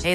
Hey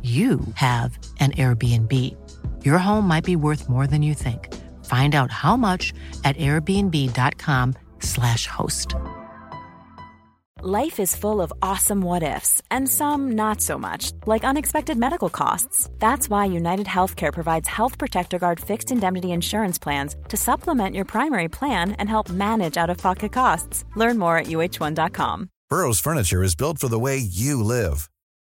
you have an Airbnb. Your home might be worth more than you think. Find out how much at airbnb.com/slash host. Life is full of awesome what ifs, and some not so much, like unexpected medical costs. That's why United Healthcare provides Health Protector Guard fixed indemnity insurance plans to supplement your primary plan and help manage out of pocket costs. Learn more at uh1.com. Burrow's furniture is built for the way you live.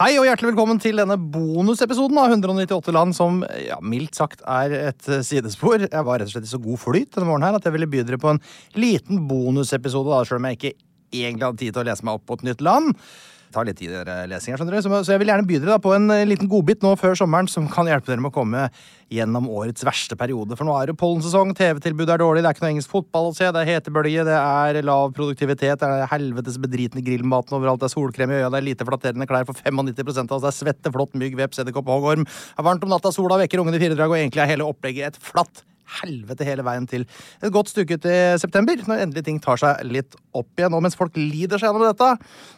Hei og hjertelig velkommen til denne bonusepisoden av 198 land, som ja, mildt sagt er et eh, sidespor. Jeg var rett og slett i så god flyt denne morgenen her at jeg ville by dere på en liten bonusepisode, da, selv om jeg ikke egentlig hadde tid til å lese meg opp på et nytt land. Det tar litt tid, dere lesinger, skjønner dere. Så, må- så jeg vil gjerne by dere da, på en eh, liten godbit nå før sommeren som kan hjelpe dere med å komme gjennom årets verste periode. For nå er det pollensesong, TV-tilbudet er dårlig, det er ikke noe engelsk fotball å se, det er hetebølge, det er lav produktivitet, det er helvetes bedritne grillmaten overalt, det er solkrem i øya, det er lite flatterende klær for 95 av oss, det er svette, flått, mygg, veps, edderkopp og hoggorm. Det er varmt om natta, sola vekker ungene i fire drag, og egentlig er hele opplegget et flatt helvete hele veien til et godt stykke ut i september, når endelig ting tar seg litt opp igjen. Og mens folk lider seg gjennom dette,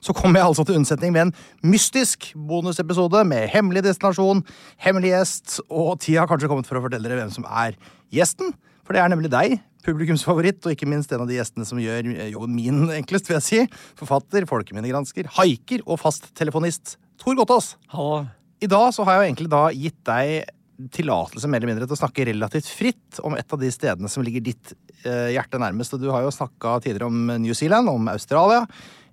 så kommer jeg altså til unnsetning med en mystisk bonusepisode med hemmelig destinasjon, hemmelig gjest, og tida har kanskje kommet for å fortelle dere hvem som er gjesten, for det er nemlig deg. Publikumsfavoritt, og ikke minst en av de gjestene som gjør eh, jobben min enklest, vil jeg si. Forfatter, folkeminnegransker, haiker og fasttelefonist Tor Gottaas. Hallo. I dag så har jeg jo egentlig da gitt deg tillatelse mer eller mindre til å snakke relativt fritt om et av de stedene som ligger ditt eh, hjerte nærmest. Og du har jo snakka tidligere om New Zealand, om Australia,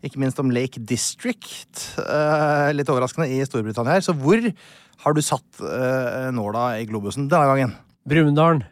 ikke minst om Lake District. eh, litt overraskende i Storbritannia her. Så hvor har du satt eh, nåla i globusen denne gangen? Brumunddal.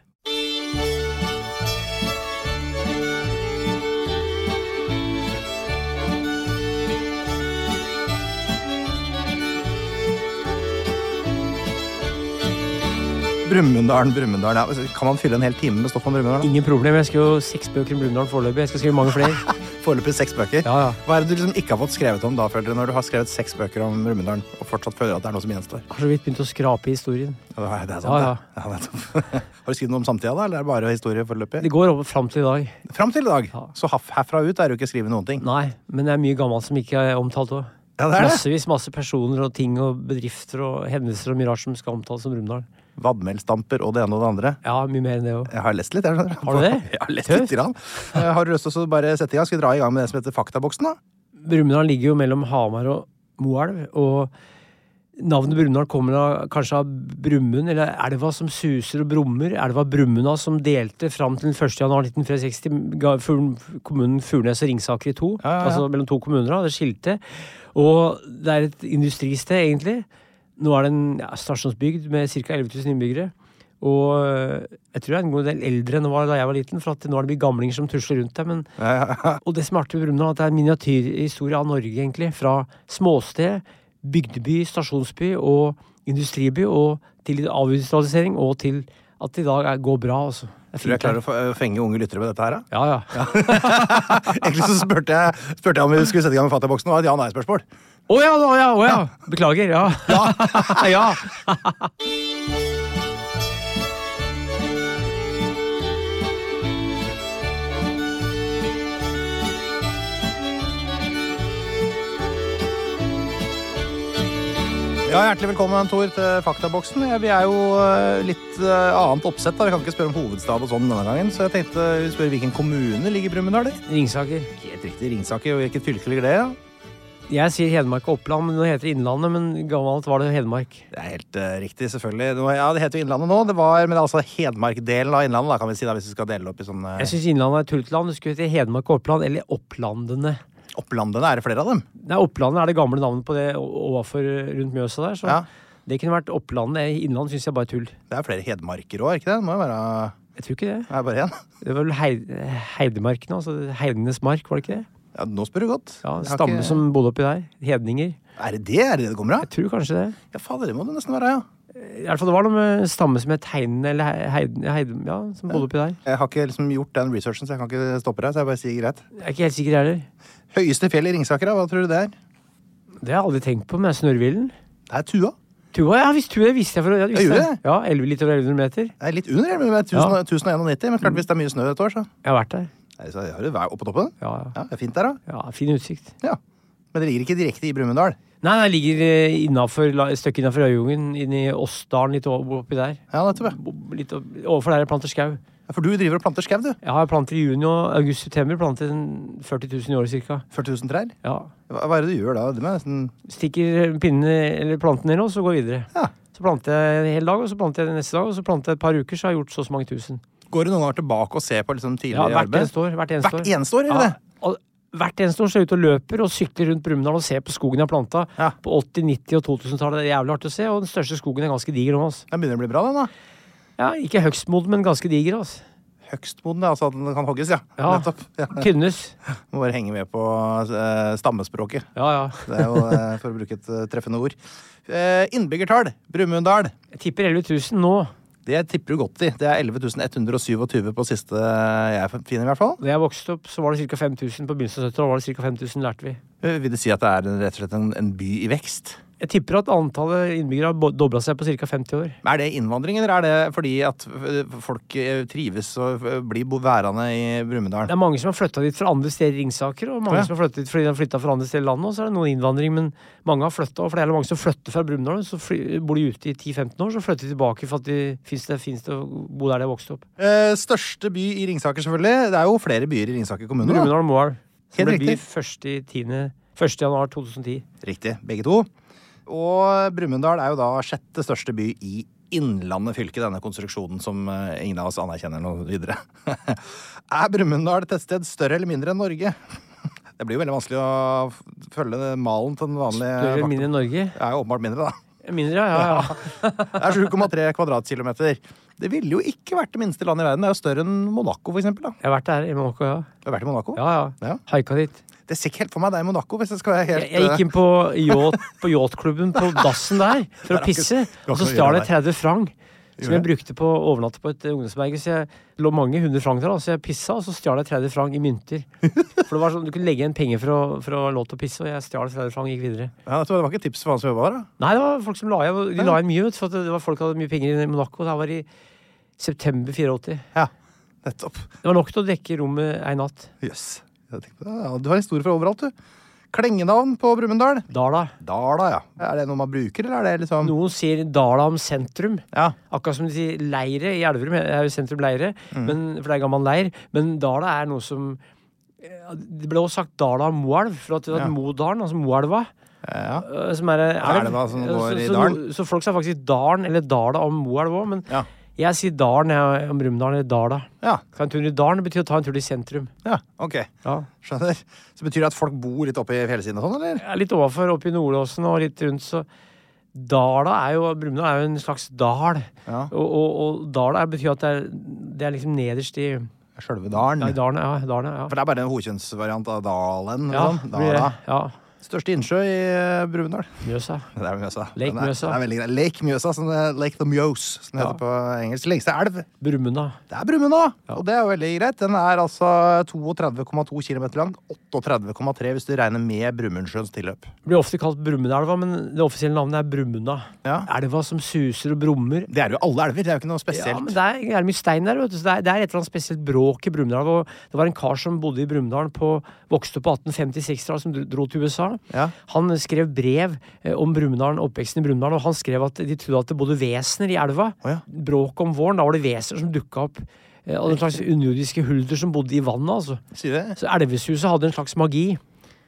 Brumunddalen, Brumunddal. Ja. Altså, Kan man fylle en hel time med stoff om Brumunddal? da? Ingen problem. Jeg skrev jo seks bøker om Brumunddal foreløpig. Jeg skal skrive mange flere. Foreløpig seks bøker. Ja, ja. Hva er det du liksom ikke har fått skrevet om da, føler du, når du har skrevet seks bøker om Brumunddal og fortsatt føler at det er noe som gjenstår? Har så vidt begynt å skrape i historien. Ja, det er- det er sant, Ja, ja. det. Ja, nettopp. Har du skrevet noe om samtida, da, eller er det bare historie foreløpig? Det går opp fram til i dag. Fram til i dag. Ja. Så haf- herfra ut er det jo ikke skrevet noen ting. Nei, men det er mye gammelt som ikke er omtalt òg. Ja, det er det. Massevis masse personer og ting og bedrifter og hendelser og mye rart som skal omtales som Brumunddal. Vadmelstamper og det ene og det andre. Ja, mye mer enn det òg. Jeg har lest litt. Jeg. skjønner. Har du det? Jeg har lest Tøft. litt. Grann. Eh, Har du lyst til å så bare sette i gang? Skal vi dra i gang med det som heter Faktaboksen, da? Brumunddal ligger jo mellom Hamar og Moelv, og navnet Brumunddal kommer av, kanskje av Brumund, eller elva som suser og brummer, elva Brumunddal som delte fram til den 1. januar 1963 ga Fugl- kommunen Furnes og Ringsaker i to, Ja, ja, ja. altså mellom to kommuner, da, det skilte. Og det er et industristed, egentlig. Nå er det en ja, stasjonsbygd med ca. 11 000 innbyggere. Og øh, jeg tror det er en god del eldre enn det var da jeg var liten, for at nå er det mye gamlinger som tusler rundt der. Men og det som er artig med Brumunddal, er at det er en miniatyrhistorie av Norge, egentlig. Fra småsted, bygdeby, stasjonsby og industriby, og til avindustrialisering, og til at det i dag er, går bra, altså. Det er Tror du jeg fint. klarer å her. få- eh, fenge unge lyttere med dette her, da? Ja, ja. Å ja. Egentlig så spurte jeg, spurte jeg om vi skulle sette i gang med Faktaboksen, og det var et ja-nei-spørsmål. Å ja, å ja, Beklager. Ja. ja. Ja, Hjertelig velkommen Tor, til Faktaboksen. Ja, Vi er jo eh, litt eh, annet oppsett. da. Vi kan ikke spørre om hovedstad og sånn denne gangen. Så jeg tenkte vi spør hvilken kommune ligger Brumunddal i. Ringsaker. Helt riktig. Ringsaker. Og hvilket fylke ligger det i? Ja? Jeg sier Hedmark og Oppland, men nå heter det Innlandet. Men gammelt var det Hedmark. Det er helt eh, riktig, selvfølgelig. Det var, ja, det heter jo Innlandet nå, det var, men det er altså Hedmark-delen av Innlandet, da, kan vi si, da, hvis vi skal dele opp i sånne Jeg syns Innlandet er et tulletland. Det skulle hete Hedmark og Oppland, eller Opplandene. Opplandene. Er det flere av dem? Nei, Opplandet er det gamle navnet på det o- overfor eh, rundt Mjøsa der. Så Ja. det kunne vært Opplandet. Innlandet syns jeg bare er tull. Det er flere hedmarker òg, er det ikke det? Det må jo være Jeg tror ikke det. er det bare én. Det var vel Hei- Heidemarkene, altså Heidenes mark, var det ikke det? Ja, nå spør du godt. Ja, Jeg har Stamme ikke- som bodde oppi der. Hedninger. Er det det er det, det kommer av? Jeg tror kanskje det. Ja, fader, det må det nesten være, ja. I hvert fall det var noe med stamme som het Heinen eller Hei- Heiden, Heiden ja, som bodde oppi der. Jeg har ikke liksom gjort den researchen, så jeg kan ikke stoppe deg. så jeg bare sier greit. Jeg er ikke helt sikker heller. Høyeste fjell i Ringsaker, da, hva tror du det er? Det har jeg aldri tenkt på, men det er Snørrvillen. Det er Tua. Tua, ja visst, Tua visste jeg for ja, visste Ja, gjorde jeg. Ja, 11 litt over 1100 meter. Det er litt under, men det er 1000, 1091, men Mm. klart hvis det er mye snø et år, så Jeg har vært der. Nei, så Har du vær oppe på toppen? Ja, ja. Ja, det er fint der, da. ja Fin utsikt. Ja. Men det ligger ikke direkte i Brumunddal. Nei, nei, ligger eh, innenfor, la- et stykke innafor Øyungen, inni Åsdalen, litt o- oppi der. Ja, nettopp. ja. Bo- Litt opp, overfor der jeg planter skau. Ja, For du driver og planter skau, du. Jeg har planter i juni og august-september. Planter en 40 000 i året ca. 40 000 trær. Ja. Hva, hva er det du gjør da? Det må jeg nesten... Stikker pinnene eller planten ned, og så går jeg videre. Ja. Så planter jeg en hel dag, og så planter jeg neste dag, og så planter jeg et par uker, så har jeg gjort så og så mange tusen. Går du noen år tilbake og ser på liksom tidligere Ja, hvert arbeid? eneste år. Hvert eneste Hvert år. eneste år, gjør du Ja, det? og Hvert eneste år så er jeg ute og løper og sykler rundt Brumunddal og ser på skogen jeg har planta. Ja. På 80-, 90- og 2000-tallet. Det er jævlig artig å se, og den største skogen er ganske diger nå. Altså. Den begynner å bli bra, den da. Ja, ikke høgstmoden, men ganske diger. Altså. Høgstmoden, altså at den kan hogges, ja. Ja. Nettopp. Ja. Tynnes. Må bare henge med på eh, stammespråket. Ja, ja. Det er jo, eh, for å bruke et eh, treffende ord. Eh, innbyggertall, Brumunddal. Jeg tipper 11 000 nå. Det tipper du godt i. Det er 11.127 på siste eh, jeg finner, i hvert fall. Da jeg vokste opp, så var det ca. 5000 på begynnelsen av 70-tallet. var det ca. 5000, lærte vi. Eh, Vil det si at det er en- rett og slett en, en by i vekst? Jeg tipper at antallet innbyggere har dobla seg på ca. 50 år. Men Er det innvandring, eller er det fordi at eh, folk eh, trives og eh, blir bo- værende i Brumunddal? Det er mange som har flytta dit fra andre steder i Ringsaker, og Ja. mange som har flyttet dit fordi de har flyttet fra andre steder i landet, og så er det noen innvandring, men mange har flytta, og for det er mange som flytter fra Brumunddal, så fly, bor de ute i 10-15 år, så flytter de tilbake for at de finnes det fins det å bo der de har vokst opp. Eh, største by i Ringsaker, selvfølgelig. Det er jo flere byer i Ringsaker kommune. da. Brumunddal Moelv. Helt Som ble by riktig. 1.10. 1. januar 2010. Riktig, begge to. Og Brumunddal er jo da sjette største by i Innlandet fylke, denne konstruksjonen som eh, ingen av oss anerkjenner noe videre. er Brumunddal et tettsted større eller mindre enn Norge? Det blir jo veldig vanskelig å f- følge malen til den vanlige Større eller fakta. mindre enn Norge? Det er jo åpenbart mindre, da. Mindre, ja. ja, ja. Det er 7,3 kvadratkilometer. Det ville jo ikke vært det minste landet i verden. Det er jo større enn Monaco, for eksempel. Da. Jeg har vært der i Monaco, ja. Du har vært i Monaco? Ja, Ja. ja. Haika dit. Det ser ikke helt for meg deg i Monaco, hvis jeg skal være helt Jeg, jeg gikk inn på, yacht, på yachtklubben på dassen der for å pisse, og så stjal jeg 30 franc. Som jeg brukte på å overnatte på et eh, ungdomsberge. Så jeg det lå mange hundre franc der, da, så jeg pissa, og så stjal jeg 30 franc i mynter. For det var sånn, Du kunne legge igjen penger for å, for å ha lov til å pisse, og jeg stjal 30 franc og gikk videre. eh, ja, vet du hva, Det var ikke et tips for han som jobba der, da. Nei, det var folk som la igjen. og De la igjen mye, vet, du, for at det var folk som hadde mye penger i Monaco. Det her var i september 84. Ja, nettopp. Det var nok til å dekke rommet ei natt. Jøss. Jeg tenkte, Ja, du har historier fra overalt, du. Klengenavn på Brumunddal? Dala. Dala, ja. Er det noe man bruker, eller er det liksom Noen sier Dala om sentrum. Ja. Akkurat som de sier leire i Elverum, er jo sentrum leire, Mm. men, for det er gammel leir. Men Dala er noe som eh, Det ble også sagt Dala og Moelv, for at, at Modalen, altså Moelva, ja. eh, som er ei elv. Elva som Eh, går så, i så, dalen. no- så folk sier faktisk Dalen eller Dala om Moelv òg, men Ja. jeg sier Dalen jeg, om Brumunddal eller Dala. Ja. Ta en tur i dalen betyr å ta en tur til sentrum. ja. Ok. Ja. Skjønner. Så betyr det at folk bor litt oppe i fjellsiden og sånn, eller? Jeg er litt overfor, oppe i Nordåsen og litt rundt, så Dala er jo Brumunddal er jo en slags dal. Ja. Og, og, og dala er- betyr at det er, det er liksom nederst i Sjølve Ja, i dalen. dalen, ja. Dalen, ja. For det er bare en hokjønnsvariant av dalen. Ja, Liksom. blir det. Dala. ja. Største innsjø i eh, Brumunddal. Mjøsa. Det er Mjøsa. Lake Den er- Mjøsa. den er veldig grei. Lake Mjøsa, som det, Lake the Mjøs, som det Ja. heter på engelsk. Lengste elv. Brumunddal. Det er Brumunddal, og det er jo veldig greit. Den er altså 32,2 km lang. 38,3 hvis du regner med Brumundsjøens tilløp. Blir ofte kalt Brummundelva, men det offisielle navnet er Brumunddal. Ja. Elva som suser og brummer. Det er jo alle elver, det er jo ikke noe Ja, men spesielt. det er, det er mye stein der, vet du. Så det er, det er et eller annet spesielt bråk i Brumunddal. og Det var en kar som bodde i Brumunddal, på- vokste opp på 1850-60-tallet, som dro- dro til USA. Ja. Han skrev brev eh, om Brumunddal, oppveksten i Brumunddal, og han skrev at de trodde at det bodde vesener i elva. Å ja. Bråk om våren, da var det vesener som dukka opp. eh, Og den slags underjordiske hulder som bodde i vannet, altså. Sier det? Så elvesuset hadde en slags magi.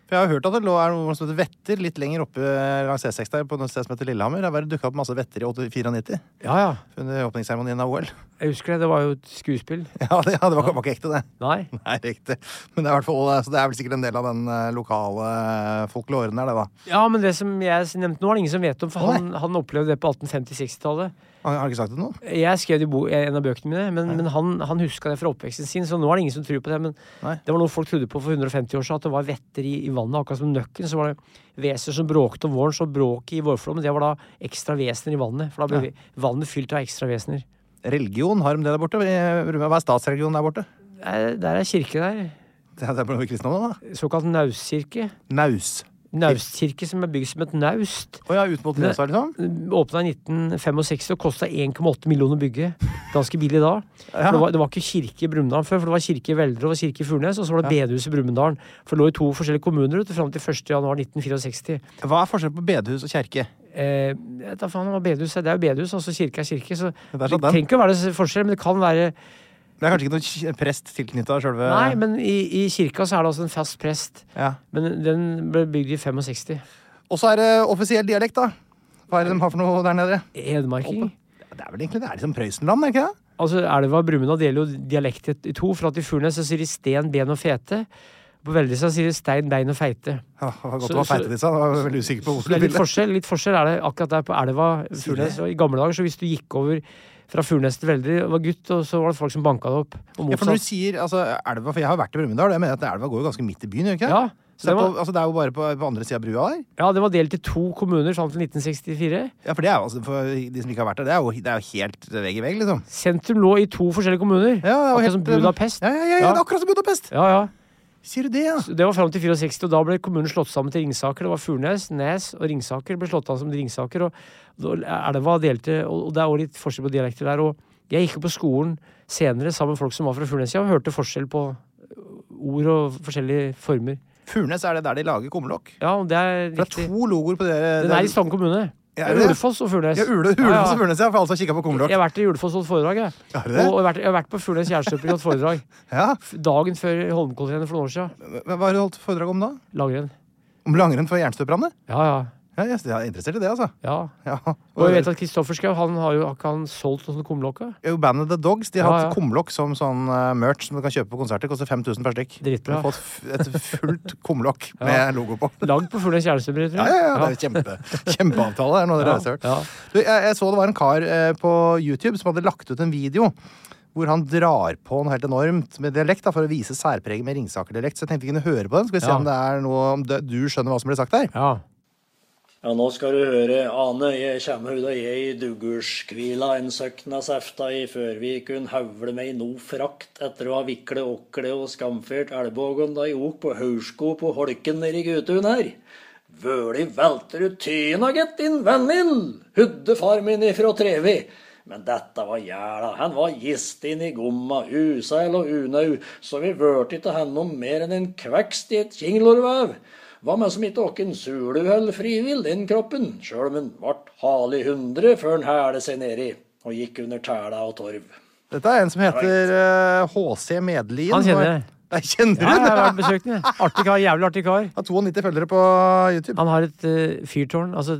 For jeg har hørt at det lå er noe som heter Vetter litt lenger oppe langs E6 der, på et sted som heter Lillehammer. Der var det dukka opp masse Vetter i 8- 94 Ja, ja. under åpningsseremonien av OL. Jeg husker det. Det var jo et skuespill. Ja, det, ja, det var, var ikke ekte, det. Nei. Nei, riktig. Men det er, i hvert fall- så det er vel sikkert en del av den eh, lokale eh, folkloren der, det, da. Ja, men det som jeg s- nevnte nå, er det ingen som vet om, for Nei. han, han opplevde det på 1850-60-tallet. Har, har du ikke sagt det til noen? Jeg skrev det i bo- eh, en av bøkene mine, men, men han, han huska det fra oppveksten sin, så nå er det ingen som tror på det. Men Nei. det var noe folk trodde på for 150 år siden, at det var vetter i, i vannet. Akkurat som nøkken, så var det vesener som bråkte om våren, så bråket i vårflommen, det var da ekstra vesener i vannet. For da ble vannet fylt av ekstra vesener. Religion, har de det der borte? Hva er statsreligionen der borte? Det er- Eh, Der er kirke der. Det er det er kristendommen, da. Såkalt naustkirke. Naus. Naustkirke som er bygd som et naust. Å ja, ut mot Det- Mjøsa, liksom? Åpna i 1965 og kosta 1,8 millioner å bygge. Ganske billig da. For det, var, det var ikke kirke i Brumunddal før, for det var kirke i Veldre og kirke i Furnes, og så var det bedehus i Brumunddal. For det lå i to forskjellige kommuner ut, fram til 1.1.1964. Hva er forskjellen på bedehus og kjerke? Eh, jeg vet da faen hva bedehus er. Det er jo bedehus, altså kirke er kirke. Så er det sant, den. trenger ikke å være s- forskjell, men det kan være Det er kanskje ikke noen kj- prest tilknytta sjølve Nei, men i, i kirka så er det altså en fast prest. ja. Men den ble bygd i 65. Og så er det offisiell dialekt, da. Hva er det de har for noe der nede? Hedmarking. Det er vel egentlig det er liksom Prøysenland, er det ikke det? Altså, Elva og Brumunddal deler jo dialekt i- i to. For at i Furnes så sier de sten, ben og fete. På Veldresa sier de stein, bein og feite. Ja, det var Så- godt det var så- feite ditt, sa han. Jeg var veldig usikker på Så hvor det du er litt ville. forskjell, litt forskjell er det akkurat der på elva. Furnes, og I gamle dager, så hvis du gikk over fra Furnes til Veldre, var gutt, og så var det folk som banka det opp. Og Ja, for når du motsatt. sier altså, elva, for jeg har vært i Brumunddal, og jeg mener at elva går jo ganske midt i byen, gjør den ikke det? Ja, så Så det, det er var, på, altså, det er jo bare på, på andre sida av brua der. ja, det var delt i to kommuner fram til 1964. Ja, for, det er, jo- altså, for de som ikke har vært der, det er jo, det er jo helt vegg i vegg, liksom. Sentrum lå i to forskjellige kommuner. Ja, det er jo akkurat helt- som Budapest. Ja, ja, ja, ja, det er akkurat som Budapest! Ja, ja. Sier du det, ja? Så Det var fram til 64, og da ble kommunen slått sammen til Ringsaker. Det var Furnes, Nes og Ringsaker ble slått sammen til Ringsaker. Og da- elva delte Og og det er også litt forskjell på dialekter der. Og jeg gikk jo på skolen senere sammen med folk som var fra Furnes, og hørte forskjell på ord og forskjellige former. Furnes er det der de lager kumlokk. Ja, og det er For det er riktig. to logoer på dere. Den er i Stange kommune. Ja, Det er er det det? Ulefoss og Furnes. Ja, Ule, Ule, Ja, ja. og Furnes, ja. For alle som har kikka på kumlokk. Jeg har vært i Ulefoss og holdt foredrag, jeg. Er det det? Og jeg har vært, jeg har vært på Furnes Gjerdsøping og holdt foredrag. Ja. F- Dagen før Holmenkollrennet for noen år siden. Men Hva har du holdt foredrag om da? Langrenn. Om langrenn for jernstøperne? Ja, ja. Ja, jeg jeg er interessert i det, altså. Ja. Ja. Og jeg vet at Kristoffer Schau, han har jo har ikke han solgt noen kumlokk? da? Jo, Bandet The Dogs de har Ja, hatt ja. kumlokk som sånn eh, merch som du kan kjøpe på konserter. Koster 5000 per stykk. Dritbra. Du har fått f- et fullt kumlokk med logo på. Lagd på Fuglenes kjærestebrev, tror Ja, jeg. ja, ja, det er kjempe, kjempeavtale. Det er noe dere har hørt. Ja. Du, jeg, jeg så det var en kar eh, på YouTube som hadde lagt ut en video hvor han drar på noe helt enormt med dialekt da, for å vise særpreget med Ringsaker-dialekt. Så jeg tenkte vi kunne høre på den. Skal vi se Ja. om det er noe om det, du skjønner hva som blir sagt der? Ja. Ja, nå skal du høre, Ane, jeg kommer ut av jeg i duggurskvila en søkna sefta i før vi kunne høvle meg no frakt etter å ha viklet okle og skamfert elbågen da jeg ok på haursko på holken nedi gutun her. Vøli velter ut tyna, gitt, din venn min, hudde far min ifra Trevi. Men dette var jæla, han var gist inn i gomma, useil og unau, så vi vørte ikke han noe mer enn en kvekst i et kinglorvev. Hva med som ikke åkken suluhøll frivill den kroppen, sjøl om en vart hal i hundre før en hæle seg nedi og gikk under tæla og torv. Dette er en som heter eh, HC Medlien. Han kjenner jeg. Nei, kjenner du ja, jeg har det? vært besøkt den. jeg. Artig kar. Jævlig artig kar. Han har 92 følgere på YouTube. Han har et eh, fyrtårn. Altså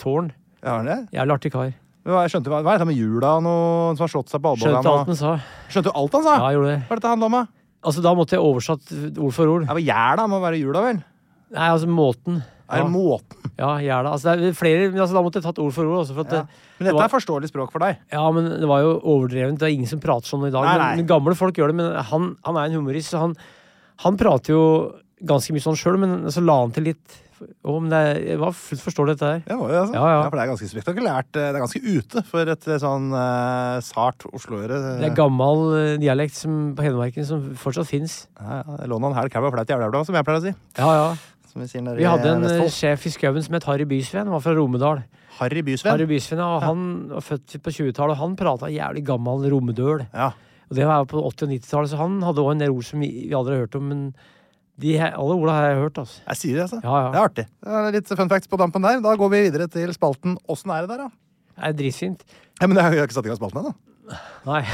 tårn. Ja, har han det? Jævlig artig kar. Men hva, jeg skjønte, hva hva er dette med jula og noe som har slått seg på albuene? Skjønte alt han sa. Skjønte du alt han sa? Ja, jeg gjorde det. Hva er dette handla om? da? Altså, da måtte jeg oversatt eh, ord for ord. Ja, men Jæla må være jula, vel? Nei, altså måten. Er Ja, det måten? ja jævla. Altså, det er flere, men altså, da måtte jeg tatt ord for ord. Også, for at eh, det, Men dette var- er forståelig språk for deg. Ja, men det var jo overdrevent. Det er ingen som prater sånn i dag. Nei, nei. Men gamle folk gjør det, men han, han er en humorist, så han, han prater jo ganske mye sånn sjøl, men så la han til litt Å, men det er, jeg var fullt forståelig, dette her. Det var jo det, altså. Ja, ja. for det er ganske spektakulært. Det er ganske ute for et eh, sånn eh, sart osloøre. Det er gammel eh, dialekt som, på Hedmarken som fortsatt fins. Ja, ja, det lå noen hæl kau og flaut jævla jævla, som jeg pleier å si. Ja, ja. Som vi sier nede Vi hadde en i eh, Vestfold. sjef i skauen som het Harry Bysveen. Han var fra Romedal. Harry Bysveen. Harry Bysveen, og Han var født på 20-tallet, og han prata jævlig gammel romedøl. Ja. Og det var jo på 80- og 90-tallet, så han hadde òg en del ord som vi, vi aldri har hørt om, men de her, alle orda har jeg hørt, altså. Jeg sier det, altså. Ja, ja. Det er artig. Det er litt fun facts på dampen der. Da går vi videre til spalten Åssen er det der, da? Det er dritfint. Ja, men det har jo ikke satt i gang spalten ennå. Nei.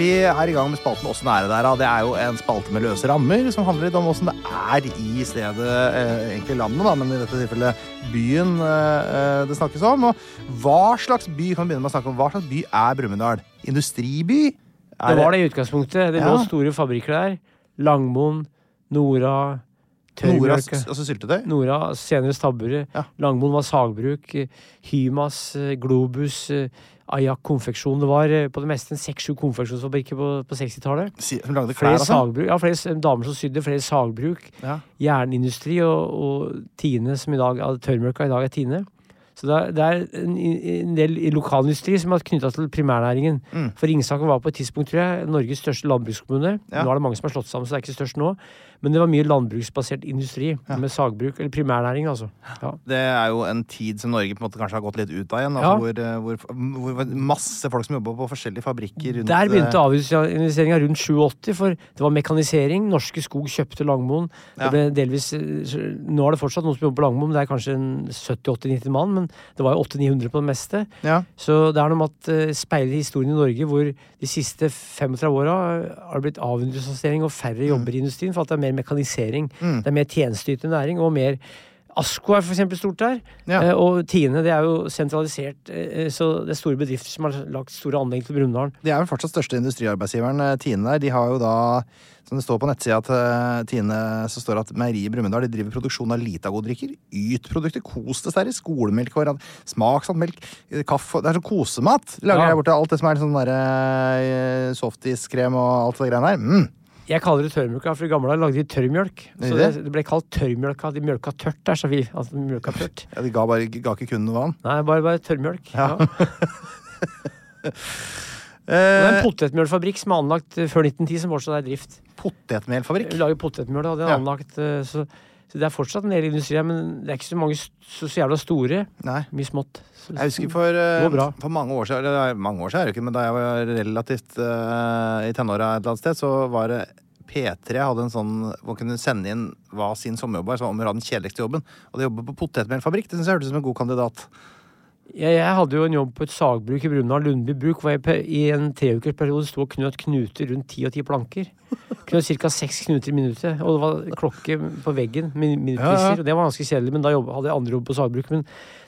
Vi er i gang med spalten Åssen er det der? da? Det er jo en spalte med løse rammer, som handler litt om åssen det er i stedet, eh, egentlig landet, da, men i dette tilfellet byen eh, eh, det snakkes om. Og hva slags by kan vi begynne med å snakke om? Hva slags by er Brumunddal? Industriby? Det var det i utgangspunktet. Det Ja. lå store fabrikker der. Langmoen, Nora, Nora, Tørrmjølka. altså syltetøy? Nora, senere Stabburet. Ja. Langmoen var sagbruk. eh, Hymas, eh, Globus, eh, Ayak konfeksjon. Det var eh, på det meste en seks-sju konfeksjonsfabrikker på, på 60-tallet. Si- Som lagde klær Flere og sånn? sagbruk, ja, flere s- damer som sydde, flere sagbruk. Ja. Jernindustri og, og Tine, som i dag er Tørrmjølka, i dag er Tine. Så det er, det er en, en del i lokalindustri som er knytta til primærnæringen. Mm. For Ringsaker var på et tidspunkt tror jeg, Norges største landbrukskommune. Ja. Nå er det mange som er slått sammen, så det er ikke størst nå. Men det var mye landbruksbasert industri med sagbruk, eller primærnæring, altså. Ja. Det er jo en tid som Norge på en måte kanskje har gått litt ut av igjen. Ja. Altså hvor, eh, hvor, hvor, hvor masse folk som jobber på forskjellige fabrikker rundt Der eh, begynte avinvesteringa rundt 87, for det var mekanisering. Norske Skog kjøpte Langmoen. Det Ja. ble delvis, eh, nå er det fortsatt noen som jobber på Langmoen, men det er kanskje en 70-80-90 mann. Men det var jo 800-900 på det meste. Ja. Så det er noe med at eh, speiler historien i Norge hvor de siste 35 åra eh, har det blitt avindustrisering og Mm. færre jobber i industrien, for at det er mer mekanisering. Det er mer tjenesteytende næring og mer Asko er for eksempel stort der. Ja. eh, Og Tine det er jo sentralisert. eh, Så det er store bedrifter som har lagt store anlegg til Brumunddal. De er vel fortsatt største industriarbeidsgiveren, eh, Tine der. De har jo da, som det står på nettsida til eh, Tine, så står det at meieriet i Brumunddal de driver produksjon av Litago-drikker, Yt-produkter, Kos-desserter, skolemelk, hverand- smaksatt melk, eh, kaffe Det er sånn kosemat! De lager Ja. der borte alt det som er sånn derre eh, softiskrem og alt det greiene der. Mm. Jeg kaller det tørrmjølka, for i gamle dager lagde de tørrmjølk. Så det, det? det ble kalt tørrmjølka. De mjølka tørt der, sa vi. Altså, mjølka tørt. Ja, de ga, bare, ga ikke kunden noe vann. Nei, bare, bare tørrmjølk. Ja. Det er Eh, en potetmjølfabrikk som er anlagt eh, før 1910, som fortsatt er i drift. Potetmelfabrikk. Vi lager potetmjøl, da. Det er Ja. anlagt, eh, så, så det er fortsatt en del industri her, men det er ikke så mange s- så, så jævla store. Nei. Mye smått. Så, Jeg husker for, Det går bra. eh, for mange år siden, eller mange år siden er det jo ikke, men da jeg var relativt eh, i tenåra et eller annet sted, så var det P3 hadde en sånn hvor man kunne sende inn hva sin sommerjobb var, som om å ha den kjedeligste jobben. Og det jobber på potetmelfabrikk. Det syns jeg hørtes ut som en god kandidat. Jeg, jeg hadde jo en jobb på et sagbruk i Brumunddal, Lundby bruk, hvor jeg pe- i en treukersperiode sto og knøt knuter rundt ti og ti planker. Knøt ca. seks knuter i minuttet, og det var klokke på veggen. Ja, min- ja. Minuttpriser. Og det var ganske kjedelig, men da jobb, hadde jeg andre jobb på sagbruk. Men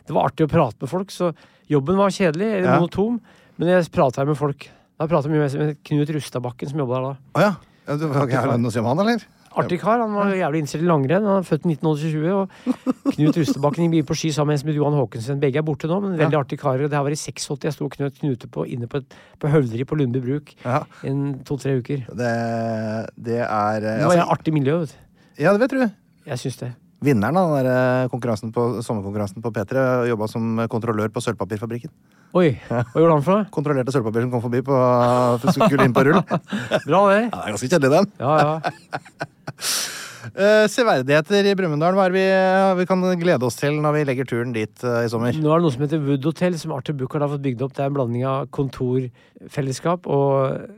det var artig å prate med folk, så jobben var kjedelig, eller Ja. monotom, men jeg prata med folk. Da prata jeg mye med- med Knut Rustadbakken, som jobba der da. Å ja. Ja, du- ok, Har du noe å si om han, eller? Artig kar. Han var jævlig innstilt i langrenn. Han er født i 1920. Og Knut Rustebakken gikk mye på ski sammen med en som het Johan Haakonsen. Begge er borte nå, men veldig artige karer. Og det her var i 86 jeg sto og knøt knute på inne på, et, på Høvleri på Lundby bruk Ja. en to-tre uker. Det, det er eh, Det var et altså, artig miljø, vet du. Ja, det vet du. Jeg syns det. Vinneren av den der eh, konkurransen på, sommerkonkurransen på P3 jobba som kontrollør på sølvpapirfabrikken. Oi, hva gjorde han for noe? Kontrollerte sølvpapir som kom forbi på skulle inn på rull. Ja, Bra, det. det er ganske kjedelig, den. Ja, ja. Eh, severdigheter i Brumunddal, hva er det vi, vi kan glede oss til når vi legger turen dit eh, i sommer? Nå er det noe som heter Wood Hotel, som Arthur Buchardt har fått bygd opp. Det er en blanding av kontorfellesskap og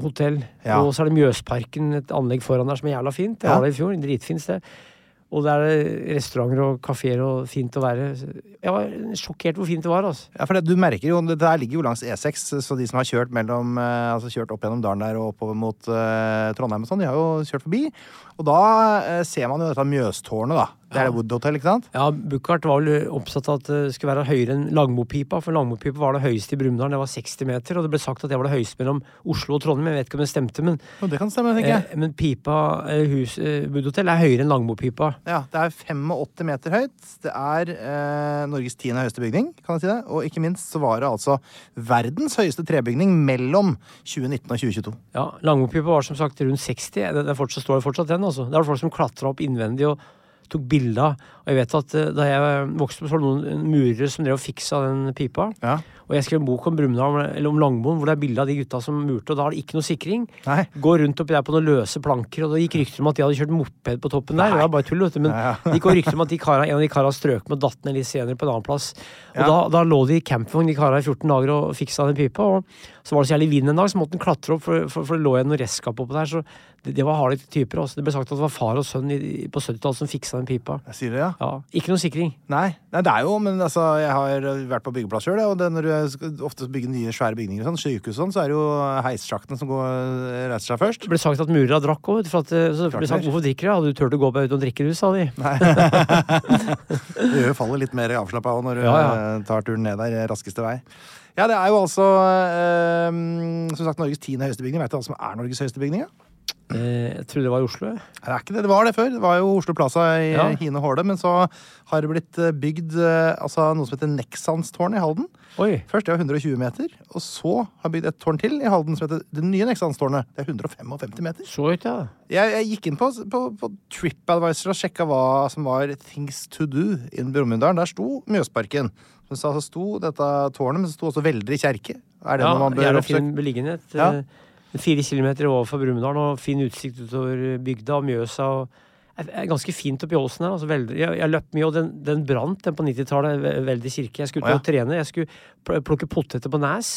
hotell. Ja. Og så er det Mjøsparken, et anlegg foran der som er jævla fint. Jeg Ja. var der i fjor, dritfint sted. Og der er det restauranter og kafeer og fint å være. Jeg var sjokkert hvor fint det var, altså. Ja, for det, du merker jo, det der ligger jo langs E6, så de som har kjørt, mellom, eh, altså kjørt opp gjennom dalen der og oppover mot eh, Trondheim og sånn, de har jo kjørt forbi. Og da eh, ser man jo dette Mjøstårnet, da. Det er det Wood Hotel, ikke sant? Ja, Buchardt var vel oppsatt av at det skulle være høyere enn Langmopipa, for Langmopipa var det høyeste i Brumunddal, det var 60 meter, og det ble sagt at det var det høyeste mellom Oslo og Trondheim, jeg vet ikke om det stemte, men, Jo, det kan stemme, tenker jeg. eh, men pipa, eh, hus, eh, Wood Hotel er høyere enn Langmopipa. Eh, Ja, Det er 85 meter høyt. Det er eh, Norges tiende høyeste bygning. kan jeg si det? Og ikke minst så var det altså verdens høyeste trebygning mellom 2019 og 2022. Ja, Langmopipa var som sagt rundt 60. Det, det er fortsatt, står fortsatt den, altså. Det var folk som klatra opp innvendig og tok bilder. Og jeg vet at eh, da jeg vokste opp, så var det noen murere som drev og fiksa den pipa. Ja. Og jeg skrev en bok om Brumunddal, eller om Langmoen, hvor det er bilde av de gutta som murte, og da har de ikke noe sikring. Nei. Går rundt oppi der på noen løse planker, og det gikk rykter om at de hadde kjørt moped på toppen der. Det var bare tull, vet du. Men det gikk også rykter om at de kara, en av de kara strøk med og datt ned litt senere på en annen plass. Og da, da lå de i campingvogn, de kara, i 14 dager og fiksa den pipa. Og så var det så jævlig vind en dag, så måtte den klatre opp, for, for, for det lå igjen noe restskap oppå der. Så det, det var harde typer. Altså. Det ble sagt at det var far og sønn i, på 70-tallet som fiksa den pipa. Jeg sier det, ja. Ja. Ja, ikke noe sikring. Nei, nei, det er jo, men altså, jeg har vært på byggeplass sjøl, og det, når du skal ofte bygger nye svære bygninger, og sånn, sykehus og sånn, så er det jo heissjaktene som går, reiser seg først. Det ble sagt at murere drakk òg. Så ble Klart det sagt det. hvorfor drikker dere? Hadde du turt å gå på uten å drikke, du, sa de. Nei. det gjør fallet litt mer avslappa òg når du Ja, ja. eh, tar turen ned der eh, raskeste vei. Ja, det er jo altså eh, som sagt Norges tiende høyeste bygning. Vet du hva som er Norges høyeste bygning? Ja? Eh, Jeg trodde det var i Oslo. jeg. Det er ikke det. Det var det før. Det var jo Oslo Plaza i Ja. Hine Håle, men så har det blitt eh, bygd eh, altså, noe som heter Nexanstårnet i Halden. Oi. Først det var 120 meter, og så har jeg bygd et tårn til i Halden som heter Det nye Nexanstårnet. Det er 155 meter. Så høyt, ja. Jeg, jeg gikk inn på, på, på TripAdvisor og sjekka hva som var things to do in Brumunddal. Der sto Mjøsparken. Så det altså sto dette tårnet, men det sto også Veldre kjerke. Er det ja noe man bør Gjerne oppsøke? fin beliggenhet. Ja. eh, Fire kilometer overfor Brumunddal og fin utsikt utover eh, bygda og Mjøsa. og det er ganske fint oppi åsen her. Altså, veldig, jeg, jeg løp mye, og den, den brant den på 90-tallet. ve- Veldig kirke. Jeg skulle Å, ut og trene. Jeg skulle pl- plukke poteter på Næs.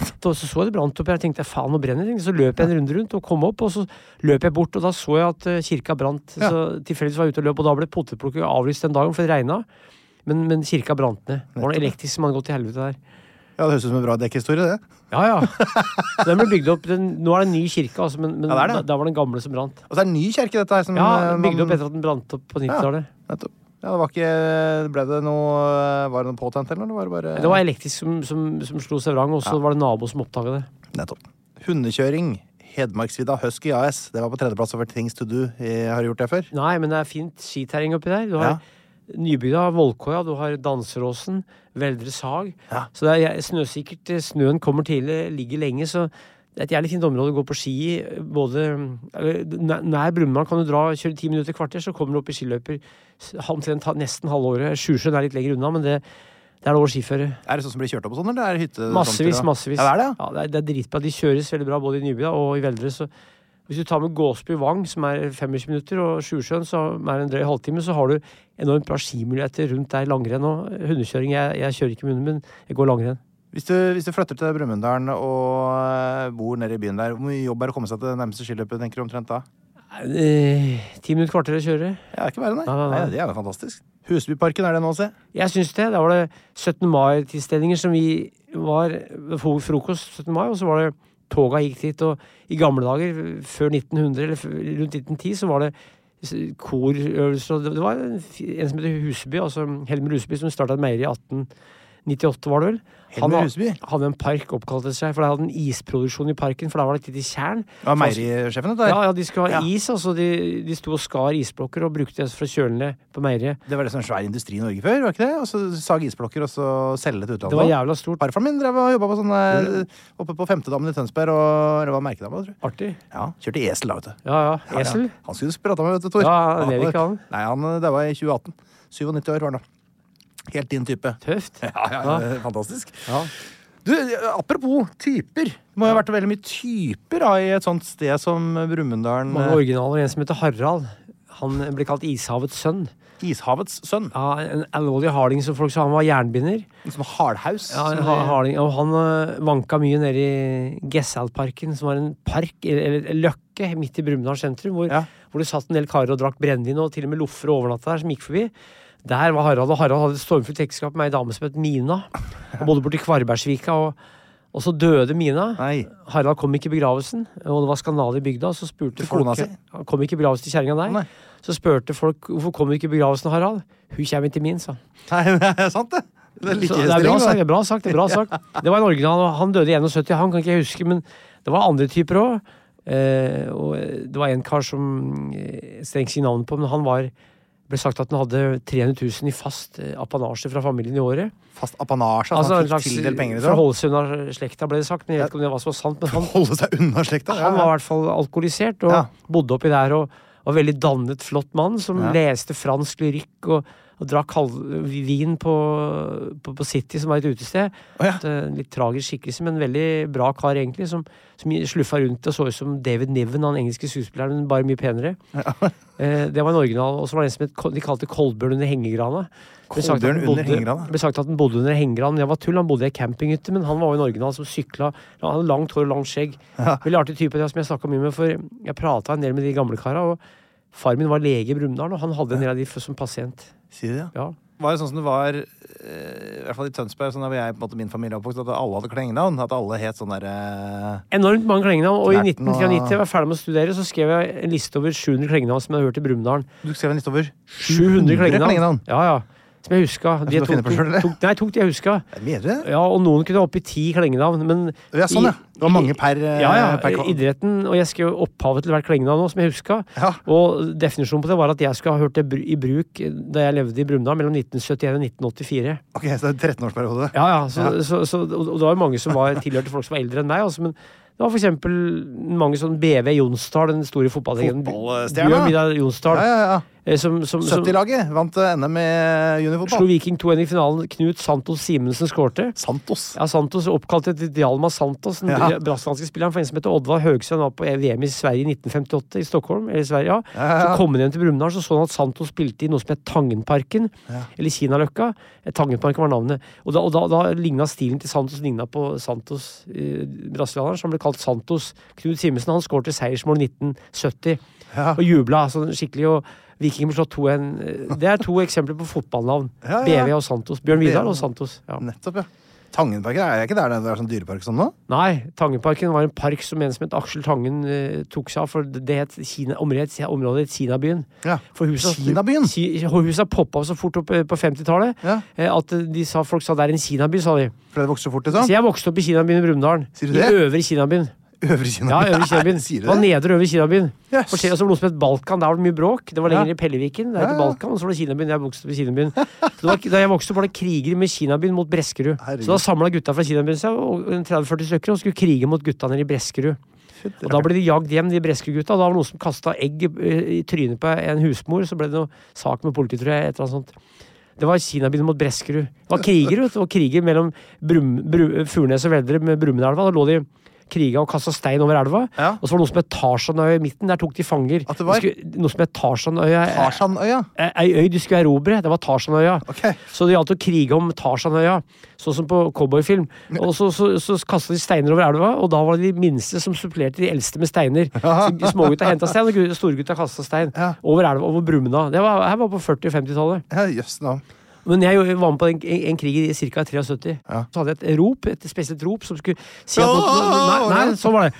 Da så, så jeg det brant oppi her. Jeg tenkte faen, nå brenner det. Så løp jeg en runde rundt og kom opp. Og så løp jeg bort, og da så jeg at eh, kirka brant. Ja. Så tilfeldigvis var jeg ute og løp, og da ble potetplukket avlyst den dagen, for det regna. Men, men kirka brant ned. Det var noe elektrisk som hadde gått til helvete der. Ja, det høres ut som en bra dekkhistorie, det. Ja, ja. Så den ble bygd opp. Den, nå er det en ny kirke, altså, men, men Ja, det er det. Da, da var den gamle som brant. Og så er det en ny kjerke, dette her. Som, eh, Ja, man- Bygd opp etter at den brant opp på 90-tallet. Nettopp. Ja, det var ikke Ble det noe eh, Var det noe påtent, eller var det bare Det var elektrisk som, som, som slo seg vrang, og så var det nabo som oppdaga det. Nettopp. Hundekjøring. Hedmarksvidda Husky AS. Det var på tredjeplass over Things to do. Jeg har du gjort det før? Nei, men det er fint skiterreng oppi der. Du Ja. har Nybygda, Vollkoia, du har Danseråsen, Veldre Sag. Ja. Så det er snøsikkert. eh, Snøen kommer tidlig, ligger lenge, så det er et jævlig fint område å gå på ski i. Både eller, nær- Nær Brumunddal kan du dra, kjøre ti minutter, kvarter, så kommer du opp i skiløyper s- omtrent ha- nesten halve året. Sjusjøen er litt lenger unna, men det, det er det over skiføre. Er det sånn som blir kjørt opp og sånn, eller er det hytte? Massevis, massevis. Ja, det er det, ja. Ja, det, er, det er dritbra. De kjøres veldig bra både i Nybya og i Veldre. Så hvis du tar med Gåsby Vang, som er 25 minutter, og Sjusjøen, som er en drøy halvtime, så har du enormt bra skimuligheter rundt der. Langrenn og hundekjøring. Jeg, jeg kjører ikke med hunden min, jeg går langrenn. Hvis du, hvis du flytter til Brumunddal og eh, bor nede i byen der, hvor mye jobb er det å komme seg til det nærmeste skiløpet, tenker du omtrent da? Eh, Ti minutter, kvarter å kjøre. Ja, det er ikke verre, nei. Nei, nei, nei. Nei, Det er jo fantastisk. Husbyparken, er det nå å se? Jeg syns det. Da var det 17. mai-tilstelninger som vi var for frokost 17. mai, og så var det toga gikk dit. Og i gamle dager, før 1900, eller f- rundt 1910, så var det s- korøvelser og det- Det var en f- en som heter Huseby, altså Helmer Huseby, som starta et meieri i 1898, var det vel? Han Helmer ha- Huseby? hadde en park oppkalt etter seg, for de hadde en isproduksjon i parken, for da var det et lite tjern. Det var meierisjefen, dette Ja, her. ja, de skulle ha Ja. is, altså. De, de sto og skar isblokker og brukte det for å kjøle ned på meieriet. Det var det som var svær industri i Norge før, var ikke det? Og så sag isblokker, og så selge det til utlandet. Det var Mm. jævla stort. Farfaren min drev og jobba på sånne, eh, oppe på Femtedammen i Tønsberg, og det var Merkedammen, tror jeg. Artig. Ja, Kjørte esel da, vet du. Ja, ja. Ja, Esel. Ja. Han skulle du prata med, vet du, Tor. Ja, han lever ikke, han. Nei, han eh, det var i 2018. 97 år var han da. Helt din type. Tøft. Ja, ja, eh, Fantastisk. Ja. Du, eh, apropos typer. Det må jo ha vært veldig mye typer da, i et sånt sted som Brumunddalen. Mange eh, originaler. En som heter Harald. Han ble kalt Ishavets sønn. eh, Ishavets sønn. Ja, en alvorlig harding som folk sa. Han var jernbinder. En sånn hardhaus. Ja, som en de- ha- harding, og han øh, vanka mye nede i Gesselparken, som var en park, eller eller en løkke, midt i Brumunddal sentrum, hvor, Ja. hvor det satt en del karer og drakk brennevin, og til og med loffer og overnatta der, som gikk forbi. Der var Harald, og Harald hadde et stormfullt ekteskap med ei dame som het Mina. Og bodde borti Kvarbergsvika, og, og så døde Mina. Nei. Harald kom ikke i begravelsen, og det var skandale i bygda. Så spurte Til kona folk si? Han kom ikke i begravelsen til kjerringa, nei. Nei. Så spurte folk hvorfor kom du ikke i begravelsen, Harald. Hun kommer til min, sa han. Nei, det er sant, det. Det er Så like det er bra stilling, sagt. Det det. er bra sagt, det er bra sagt. Det var en original, og han døde i 71. Han kan ikke jeg huske, men det var andre typer òg. Eh, og eh, det var en kar som eh, jeg trenger ikke si navnet på, men han var ble sagt at han hadde 300 000 i fast eh, apanasje fra familien i året. Fast apanasje. Altså, Altså, han en fikk slags tildelt penger i For å det. holde seg unna slekta, ble det sagt. Men jeg vet ikke om det var så sant. Men han, Holde seg unna slekta. ja, ja. han var i hvert fall alkoholisert og Ja. bodde oppi der og var veldig dannet, flott mann som Ja. leste fransk lyrikk og, og drakk halv- vin på, på, på City, som var et utested. Å, ja. Et, eh, litt tragisk skikkelse, men veldig bra kar, egentlig, som, som sluffa rundt og så ut som David Niven, han engelske skuespilleren, men bare mye penere. Eh, det var en original. Og så var det en som het, Ko- de kalte Kolbjørn under hengegrana. Ble sagt at Kolbjørn han under bodde- hengegrana? Ble sagt at han bodde under hengegranen. Det var tull, han bodde i ei campinghytte, men han var jo en original som sykla. Han hadde langt hår og langt skjegg. Veldig artig type, det som jeg snakka mye med, for jeg prata en del med de gamle kara, og far min var lege i Brumunddal, og han hadde en del av de f- som pasient. Si det, ja. Ja. var jo sånn som det var eh, i hvert fall i Tønsberg, sånn da jeg, på en måte, min familie er oppvokst, at alle hadde klengenavn. At alle het sånn derre Enormt mange klengenavn. Og i Knerten og- 1993, jeg var ferdig med å studere, så skrev jeg en liste over 700 klengenavn som jeg hadde hørt i Brumunddal. Du skrev en liste over 700 klengenavn. klengenavn! Ja, ja. Som jeg huska. Jeg skal finne på selv, eller? tok, nei, tok de jeg huska. Mer? Ja, Ja, og noen kunne opp i ti klengenavn, men sånn, ja. Det var mange per, eh, ja, ja, per kva- idretten, og jeg skrev opphavet til hvert klengenavn nå, som jeg huska. Ja. Og definisjonen på det var at jeg skulle ha hørt det bru- i bruk da jeg levde i Brumunddal mellom 1971 og 1984. Ok, så det er en 13-årsperiode. Ja, ja, så, Ja. Så, så, og og det var jo mange som var, tilhørte folk som var eldre enn meg. Altså, men det var for eksempel mange sånn BV Jonsdal, den store fotballlegenden. Fotballstjerna. Bjørn Vidar Jonsdal. Ja, ja, ja. eh, Som, som, som 70-laget vant eh, NM i slo juniorfotball. Viking 2-1 i finalen. Knut Santos Simensen skårte. Santos. Ja, Santos oppkalt etter Hjalmar Santos, den Ja. brasilianske spilleren for en som heter Oddvar Høgsøen, var på VM i Sverige i 1958, i Stockholm, eller i Sverige, ja. Ja, ja, ja. Så kom han hjem til Brumunddal, så så han at Santos spilte i noe som het Tangenparken, eller Kinaløkka. Eh, Tangenparken var navnet. Og da, og da, da ligna stilen til Santos ligna på Santos, eh, brasilianeren, så han ble kalt Santos. Knut Simensen, han skåret seiersmål i 1970, Ja. og jubla sånn skikkelig. og Vikinger ble slått 2-1. Eh, Det er to eksempler på fotballnavn. Ja, ja. BV og Santos. Bjørn Vidar BV. og Santos. Ja. Nettopp, ja. Tangenparken er ikke der det er sånn dyrepark som nå? Nei, Tangenparken var en park som en som het Aksel Tangen eh, tok seg av, for det het Kina, området, området het Kinabyen. Ja. For husa, Kinabyen? Ki, husa poppa så fort opp eh, på 50-tallet Ja. eh, at de sa, folk sa det er en kinaby, sa de. Fordi det vokser så fort, Så liksom? jeg vokste opp i Kinabyen i Brumunddal. Sier du I det? Øvre Kinabyen. Øvre Kina? Ja, Øvre Kinabyen. Nei, sier Det var du det? nedre Øvre Kinabyen. Jøss. Og så også noe som het Balkan. Der var det mye bråk. Det var Ja. lenger i Pelleviken. Det Ja, er ikke ja. Balkan. Og så var det Kinabyen. Jeg vokste opp i Kinabyen. Så det var, da jeg vokste opp, var det kriger med Kinabyen mot Breskerud. Herregud. Så da samla gutta fra Kinabyen seg, og en 30-40 stykker, og skulle krige mot gutta nede i Breskerud. Og da ble de jagd hjem, de Breskerud-gutta. og Da var det noen som kasta egg i, i trynet på en husmor. Så ble det noe sak med politiet, tror jeg. Et eller annet sånt. Det var Kinabyen mot Breskerud. Det var kriger, vet du. Og kriger mellom Brum, Bru- Furnes og Veldre med Brumundelva. Da lå de kriga og kasta stein over elva. Ja. Og så var det noe som het Tarzanøya i midten. Der tok de fanger. At det var- De skulle, noe som het Tarzanøya. Tarsanøya? Eh, Ei øy de skulle erobre. Det var Tarzanøya. Ok. Så det gjaldt å krige om Tarzanøya, sånn som på cowboyfilm. Og så, så, så kasta de steiner over elva, og da var det de minste som supplerte de eldste med steiner. Så de Smågutta henta stein, og gu- storegutta kasta stein. Ja. Over elva, over Brumna. Det var, her var på 40- og 50-tallet. Ja, jøss navn. Men jeg jo- var med på en, en, en krig i ca. 73. Ja. Så hadde jeg et rop, et spesielt rop, som skulle si at Åh, Nei, ja. nei sånn var det.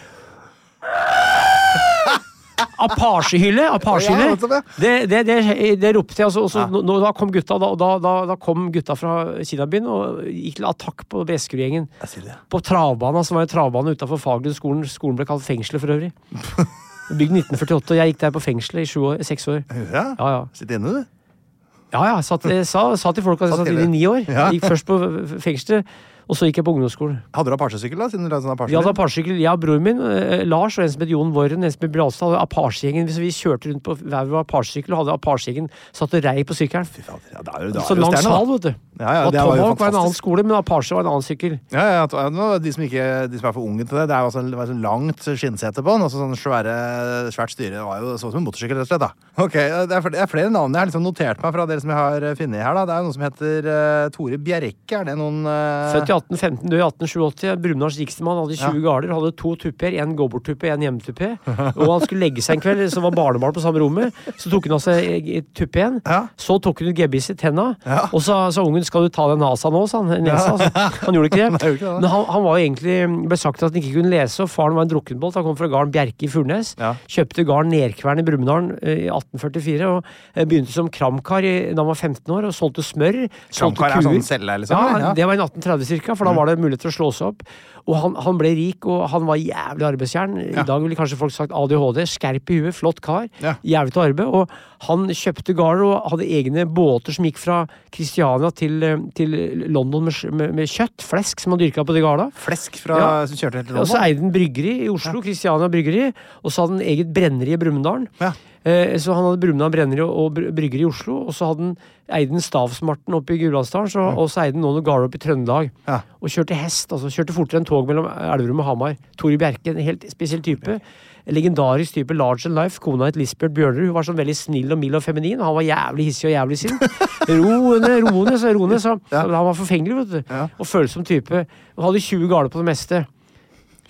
Apasjehylle! Ja, Apasjehylle! nettopp, ja. Det, det, det, det ropte jeg, og så- og så nå- nå- da kom gutta, da, og da, da, da kom gutta fra Kinabyen og gikk til attakk på Breskerudgjengen. Jeg sier det. På travbana, som var en travbane utafor Fagerlund skolen. Skolen ble kalt fengselet for øvrig. Bygd 1948, og jeg gikk der på fengselet i sju år, seks år. Ja. Ja, ja. Sitt inne, du. Ja, ja. Satt, jeg sa, sa til folk at jeg Sa satt til inne i det. ni år. Ja. Gikk først på f- fengselet, og så gikk jeg på ungdomsskolen. Hadde du apasjesykkel, da? Siden du lagde sånn Vi hadde apasjesykkel? apasjekkel, jeg og broren min, eh, Lars og en som het Jon Våren, en som het Bladstad, og apasjegjengen. Så vi kjørte rundt på hver vår apasjekkel og hadde apasjegjengen. Satt og rei på sykkelen. Ja, det er jo- det er Så jo lang stjerne, da. sal, vet du. Ja, ja, og det var jo Tomahawk var en annen fantastisk. skole, men apasje var en annen sykkel. Ja, ja, at- ja, nå, de, som ikke, de som er for unge til det, det er jo altså, det var sånn langt skinnsete på den. Og så sånn svære, svært styre. Det var jo så ut som en motorsykkel, rett og slett. da. Ok, Det er, fl- det er flere navn jeg har liksom notert meg fra dere som jeg har eh, funnet her. da. Det er jo noen som heter eh, Tore Bjerke. Er det noen eh, Født i 1815, død i 1887. Brunars rikstemann hadde 20 garder, hadde to tupper, en gobbertuppe, en hjemmetuppe. Og han skulle legge seg en kveld, så var barnebarn på samme rommet. Så tok hun av seg eh, tuppe igjen. Ja. Så tok hun ut gebbis i tenna, og sa, sa ungen 'skal du ta den nasa nå', sa han. Nesa, så. Han gjorde ikke det. gjorde ikke det. Men han, han var jo egentlig ble sagt at han ikke kunne lese, og faren var en drukkenbolt. Han kom fra gården Bjerke i Furnes. Ja. Kjøpte gården Nerkvern i Brumunddal eh, i 1844, og eh, begynte som kramkar i- da han var 15 år, og solgte smør. solgte Kramkar er kuer. sånn selge, liksom? Ja, eller? det var i 1830 cirka, for da var det mulighet til å slå seg opp. Og han, han ble rik, og han var jævlig arbeidsjern. I dag ville kanskje folk sagt ADHD. Skerp i huet, flott kar. Ja. Jævlig til arbeid. Og han kjøpte gårder og hadde egne båter som gikk fra Kristiania til, eh, til London med, med, med kjøtt, flesk, som han dyrka på de garda. Flesk fra, Ja. som kjørte helt til Og så London? eide han bryggeri i Oslo, Kristiania bryggeri, og så hadde han eget brenneri i Brumunddal. Ja. Eh, så han hadde Brumunddal brenneri og, og bry- bryggeri i Oslo, og så hadde han eide han Stavsmarten oppe i Gudbrandsdalen, så- og så eide han nå noen gårder oppe i Trøndelag. Ja. Og kjørte hest, altså kjørte fortere enn tog mellom Elverum og Hamar. Tore Bjerke, en helt spesiell type. En Legendarisk type, large and life. Kona het Lisbjørn Bjørnerud. Hun var sånn veldig snill og mild og feminin, og han var jævlig hissig og jævlig sint. Roende, roende, så roende, så. Han var forfengelig, vet du. Og følsom type. Og hadde 20 garder på det meste.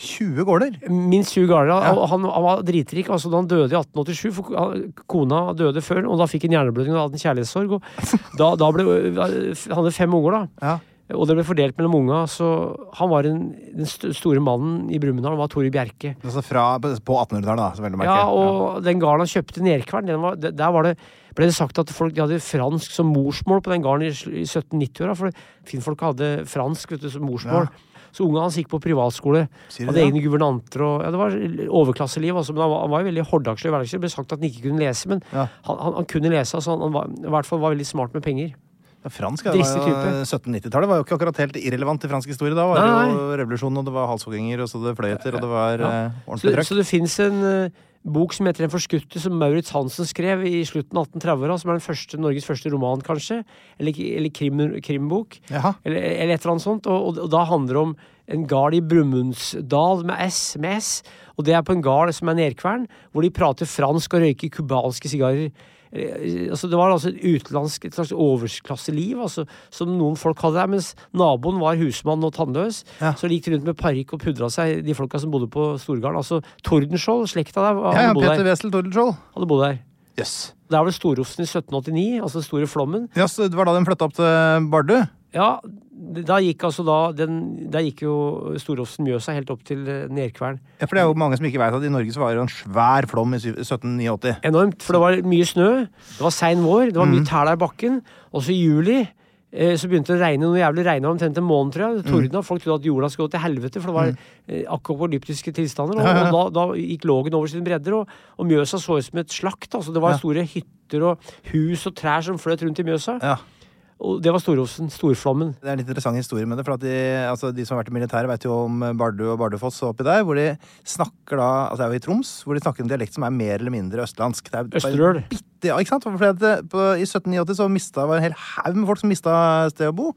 20 gårder? Minst 20 garder. Han, han, han var dritrik. Altså, da han døde i 1887 for han- Kona døde før, og da fikk han hjerneblødning og hadde en kjærlighetssorg. Og da, da ble, eh, han hadde fem unger, da. Ja. Og det ble fordelt mellom unga. Så han var en, den st store mannen i Brumunddal var Tore Bjerke. Altså fra, på 1800-tallet, da. så vel å merke. Ja, og den garden han kjøpte i Nerkvern, den var, der var det, ble det sagt at folk de hadde fransk som morsmål på den garden i, sl- i 1790-åra. For finnfolk hadde fransk vet du, som morsmål. Så unga hans gikk på privatskole. Sier du Hadde det? egne guvernanter og ja, Det var overklasseliv, altså. Men han var, han var jo veldig hordagslig i hverdagen. Det ble sagt at han ikke kunne lese, men Ja. han, han, han kunne lese. Altså, han, han var, i hvert fall var veldig smart med penger. Ja, fransk ja, det var Dristig jo type. 1790-tallet var jo ikke akkurat helt irrelevant til fransk historie. Da var Nei, det jo revolusjonen, og det var halshogginger, og så det fløyter, og det var eh, Så, ordentlig trøkk. så det fins en eh, bok som heter En forskuttet, som Maurits Hansen skrev i slutten av 1830-åra, som er den første, Norges første roman, kanskje, eller, eller krim, krimbok, Jaha. eller, eller et eller annet sånt, og, og, og da handler det om en gard i Brumunddal med S, med S, og det er på en gard som er nedkvern, hvor de prater fransk og røyker cubanske sigarer. Eh, Altså, det var altså et utenlandsk, et slags overklasseliv, altså, som noen folk hadde der, mens naboen var husmann og tannløs. Ja. Så gikk de rundt med parykk og pudra seg, de folka som bodde på Storgarden. Altså Tordenskjold, slekta der, hadde, Ja, ja, bodd, Peter der, Wessel, Tordenskjold. hadde bodd der. Jøss. Der var det storofsen i 1789, altså den store flommen. Ja, så det var da de flytta opp til Bardu? Ja, da gikk altså da den, Der gikk jo storofsen Mjøsa helt opp til eh, Nerkvern. Ja, for det er jo mange som ikke veit at i Norge så var det jo en svær flom i syv- 1789. Enormt, for det var mye snø, det var sein vår, det var Mm. mye tæl der i bakken. Og så i juli eh, så begynte det å regne noe jævlig. Regna omtrent en måned, tror jeg. Det Mm. Tordna. Folk trodde at jorda skulle gå til helvete, for det var eh, akvapolyptiske tilstander. Og, og da, da gikk lågen over sine bredder, og, og Mjøsa så ut som et slakt. Altså, det var store hytter og hus og trær som fløt rundt i Mjøsa. Ja. Og det var storofsen. Storflommen. Det er en litt interessant historie med det. for at de, altså de som har vært i militæret, vet jo om Bardu og Bardufoss og oppi der. hvor de snakker da, altså Det er jo i Troms, hvor de snakker en dialekt som er mer eller mindre østlandsk. Det er bare Østerøl. Bitte, ja, ikke sant? Fordi at det- på, I 1789 så mistet- var det en hel haug med folk som mista sted å bo.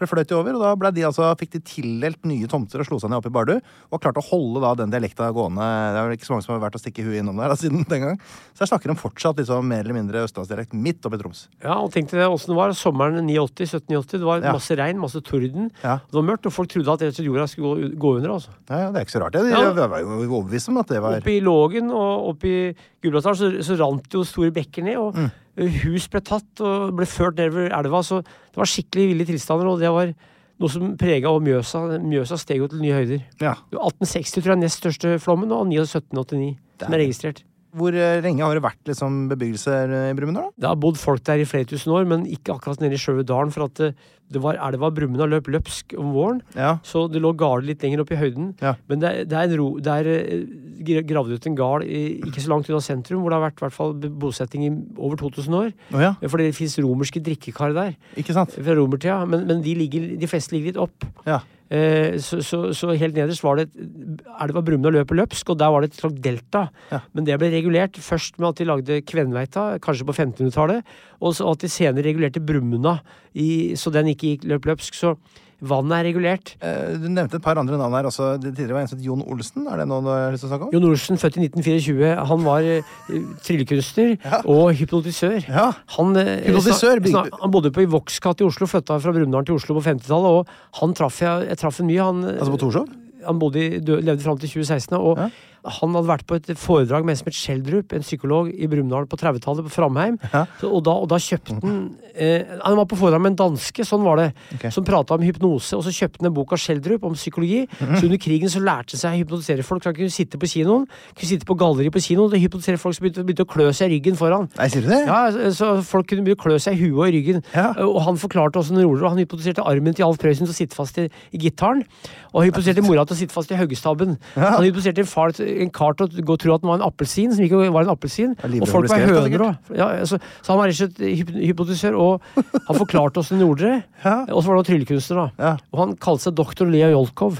For det fløt jo over, og da ble de, altså, fikk de tildelt nye tomter og slo seg ned oppe i Bardu. Og klarte å holde da den dialekta gående. Det er vel ikke så mange som har vært og stikke huet innom der da, siden den gang. Så jeg snakker om fortsatt liksom, mer eller mindre østlandsdialekt midt oppe i Troms. Ja, og tenk deg åssen det var sommeren 89, 1780. Det var Ja. masse regn, masse torden. Ja. Det var mørkt, og folk trodde at rett og slett jorda skulle gå, gå under. altså. Ja, ja, Det er ikke så rart. Jeg, Ja. jeg, jeg var jo overbevist om at det var Oppe i Lågen og oppe i Gudbrandsdalen så, så rant det jo store bekker ned, og hus ble tatt og ble ført nedover elva. Så det var skikkelig ville tilstander, og det var noe som prega Mjøsa. Mjøsa steg jo til nye høyder. ja. Det var 1860 tror jeg er nest største flommen, og 1789 som er registrert. Hvor eh, lenge har det vært liksom, bebyggelse eh, i Brumunddal? da? Det har bodd folk der i flere tusen år, men ikke akkurat nede i sjøle dalen, for at eh, det var elva Brumunddal løp løpsk om våren. Ja. Så det lå garder litt lenger opp i høyden. Ja. Men det er, det er en ro Det er eh, gra- gravd ut en gard i- ikke så langt unna sentrum, hvor det har vært i hvert fall be- bosetting i over 2000 år. Å ja, For det fins romerske drikkekar der ikke sant? fra romertida, men, men de, ligger, de fleste ligger litt opp. Ja. Eh, Så, så, så helt nederst var det et- elva Brumunddal løp løpsk, og der var det et slags delta. Ja. Men det ble regulert først med at de lagde Kvenveita, kanskje på 1500-tallet, og så at de senere regulerte Brumunda, i- så den ikke gikk løp løpsk. Så vannet er regulert. Eh, Du nevnte et par andre navn her også. Det tidligere var en som het Jon Olsen. Er det noe du har lyst til å snakke om? Jon Olsen, født i 1924, han var eh, tryllekunstner og hypnotisør. Ja. Han, eh, Hypnotisør, snak- bygde- snak- han bodde på i Voksgata i Oslo, flytta fra Brumunddal til Oslo på 50-tallet, og han traff jeg, jeg traff han mye. Han, eh, Altså på Torshov? han bodde, i- dø- levde fram til 2016, og Ja. han hadde vært på et foredrag med Esmet Schjelderup, en psykolog i Brumunddal på 30-tallet, på Framheim. Så, og, da, og da kjøpte han eh, Han var på foredrag med en danske, sånn var det, Ok. som prata om hypnose, og så kjøpte han en bok av Schjelderup om psykologi. Mhm. Så under krigen så lærte han seg å hypnotisere folk. Så han kunne sitte på kinoen, kunne sitte på galleri på kinoen og hypnotisere folk som begynte, begynte å klø seg i ryggen foran. Nei, sier du det? Ja, så- så Folk kunne begynne å klø seg i huet og i ryggen. Ja. Og han forklarte åssen det roler, og han hypotiserte armen til Alf Prøysen til å sitte fast i, i gitaren. Og han hypotiserte mora til å sitte fast i haugestabben. Han hypotiserte en far til en kar til å gå og tro at han var en appelsin, som ikke var en appelsin. er livredd Og folk for å var bli skrevet, høner òg. Ja, altså, så han var rett og slett hyp- hypotisør, og han forklarte åssen det gjorde. Ja. Og så var han tryllekunstner, da. Ja. Og han kalte seg doktor Leo Jolkov.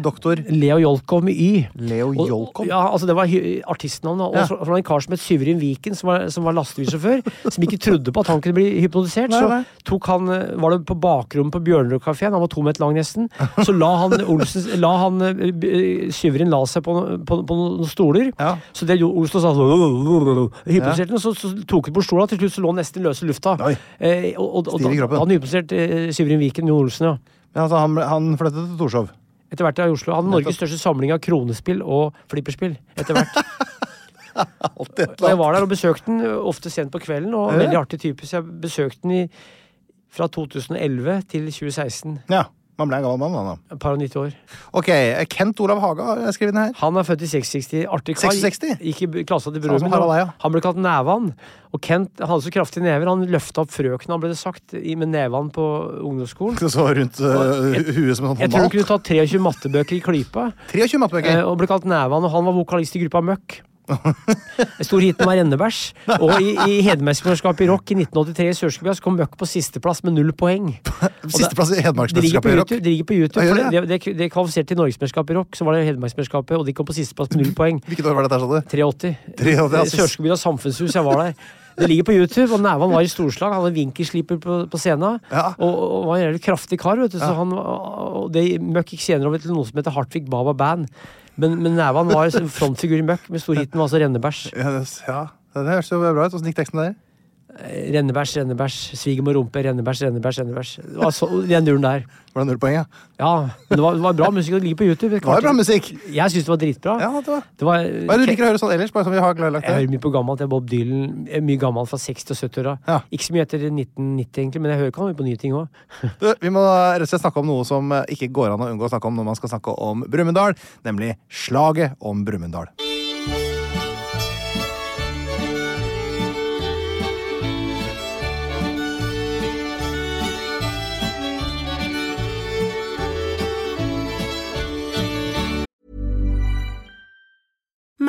Doktor Leo Jolkov med Y. Leo Og- Jolkov? Ja, altså det var hy- artistnavnet. Og Ja. så så var det en kar som het Syverin Viken, som var, som var lastebilsjåfør, som ikke trodde på at han kunne bli hypnotisert. Nei, nei. Så tok han, eh, var det på bakrommet på Bjørnerudkafeen, han var to meter lang nesten, så la han, Olsen, la han eh, b- eh, Syverin la seg på, no- på, på noen stoler. Ja. Så det gjorde Olsen og sa sånn Hypnotiserte han, så, så tok han på stolen, og til slutt så lå han nesten i løse lufta. Oi. Eh, og, og, og, Stiv i kroppen. da- han hypnotiserte eh, Syverin Viken, Jon Olsen, ja. Ja, altså, han, ble- han flyttet til Torshov. Etter hvert i Oslo. Han hadde Norges største samling av kronespill og flipperspill. Etter hvert. Alltid et Og jeg eller annet. var der og besøkte den ø, ofte sent på kvelden, og Ja. veldig artig type, så jeg besøkte den i, fra 2011 til 2016. Ja, man ble en gammel mann, da, Et par og 90 år. da. Ok, Kent Olav Haga har jeg skrevet ned her. Han er født i 660. Artig kar. 66? Gikk i b- klassa til Samme broren som min. og Harald Eia. Han ble kalt Nævan. Og Kent hadde så kraftige never, han løfta opp frøkna, ble det sagt, i- med nevan på ungdomsskolen. Det så rundt øh, huet som en Jeg sånn tror han håndball. kunne tatt 23 mattebøker i klypa. 23 eh, mattebøker. Og ble kalt Nævan, og han var vokalist i gruppa Møkk. Stor hiten var Rennebæsj. Og i, i Hedmarksmesterskapet i rock i 1983 i Sørskebya så kom Møkk på sisteplass med null poeng. Sisteplass i Det ligger på Hedmarksmesterskapet i rock. YouTube. Det, ligger på Ja, YouTube gjør for det? det, det, det kvalifiserte til Norgesmesterskapet i rock, så var det Hedmarksmesterskapet, og de kom på sisteplass med null poeng. Hvilket år var dette, her, sa du? 83. 83, altså. Sørskebyen samfunnshus, jeg var der. Det ligger på YouTube, og Nævan var i storslag. Han hadde vinkelsliper på, på scenen. Ja. Og, og var en jævlig kraftig kar. vet du Så han, og det Møkk gikk senere over til noe som heter Hartvig Baba Band. Men, men Nævan var en frontfigur i Møkk, med storhiten var altså Rennebæsj. Ja, det, ja. det høres jo bra ut. Åssen gikk teksten der? Rennebæsj, Rennebæsj, svigermor rumpe, Rennebæsj, Rennebæsj. Rennebæsj. Det var så, den duren der. Var det null poeng, ja? Ja, men det var, det var bra musikk, og det ligger på YouTube. Det var jo bra musikk! Jeg syns det var dritbra. Ja, det var. Det var, Hva er det du liker å høre sånn ellers? Bare som vi har klarlagt Jeg det. hører mye på gammelt. Jeg er Bob Dylan. Jeg er Mye gammelt fra 60- og 70-åra. Ja. Ikke så mye etter 1990, egentlig, men jeg hører ikke mye på nye ting òg. Du, vi må rett og slett snakke om noe som eh, ikke går an å unngå å snakke om når man skal snakke om Brumunddal, nemlig slaget om Brumunddal.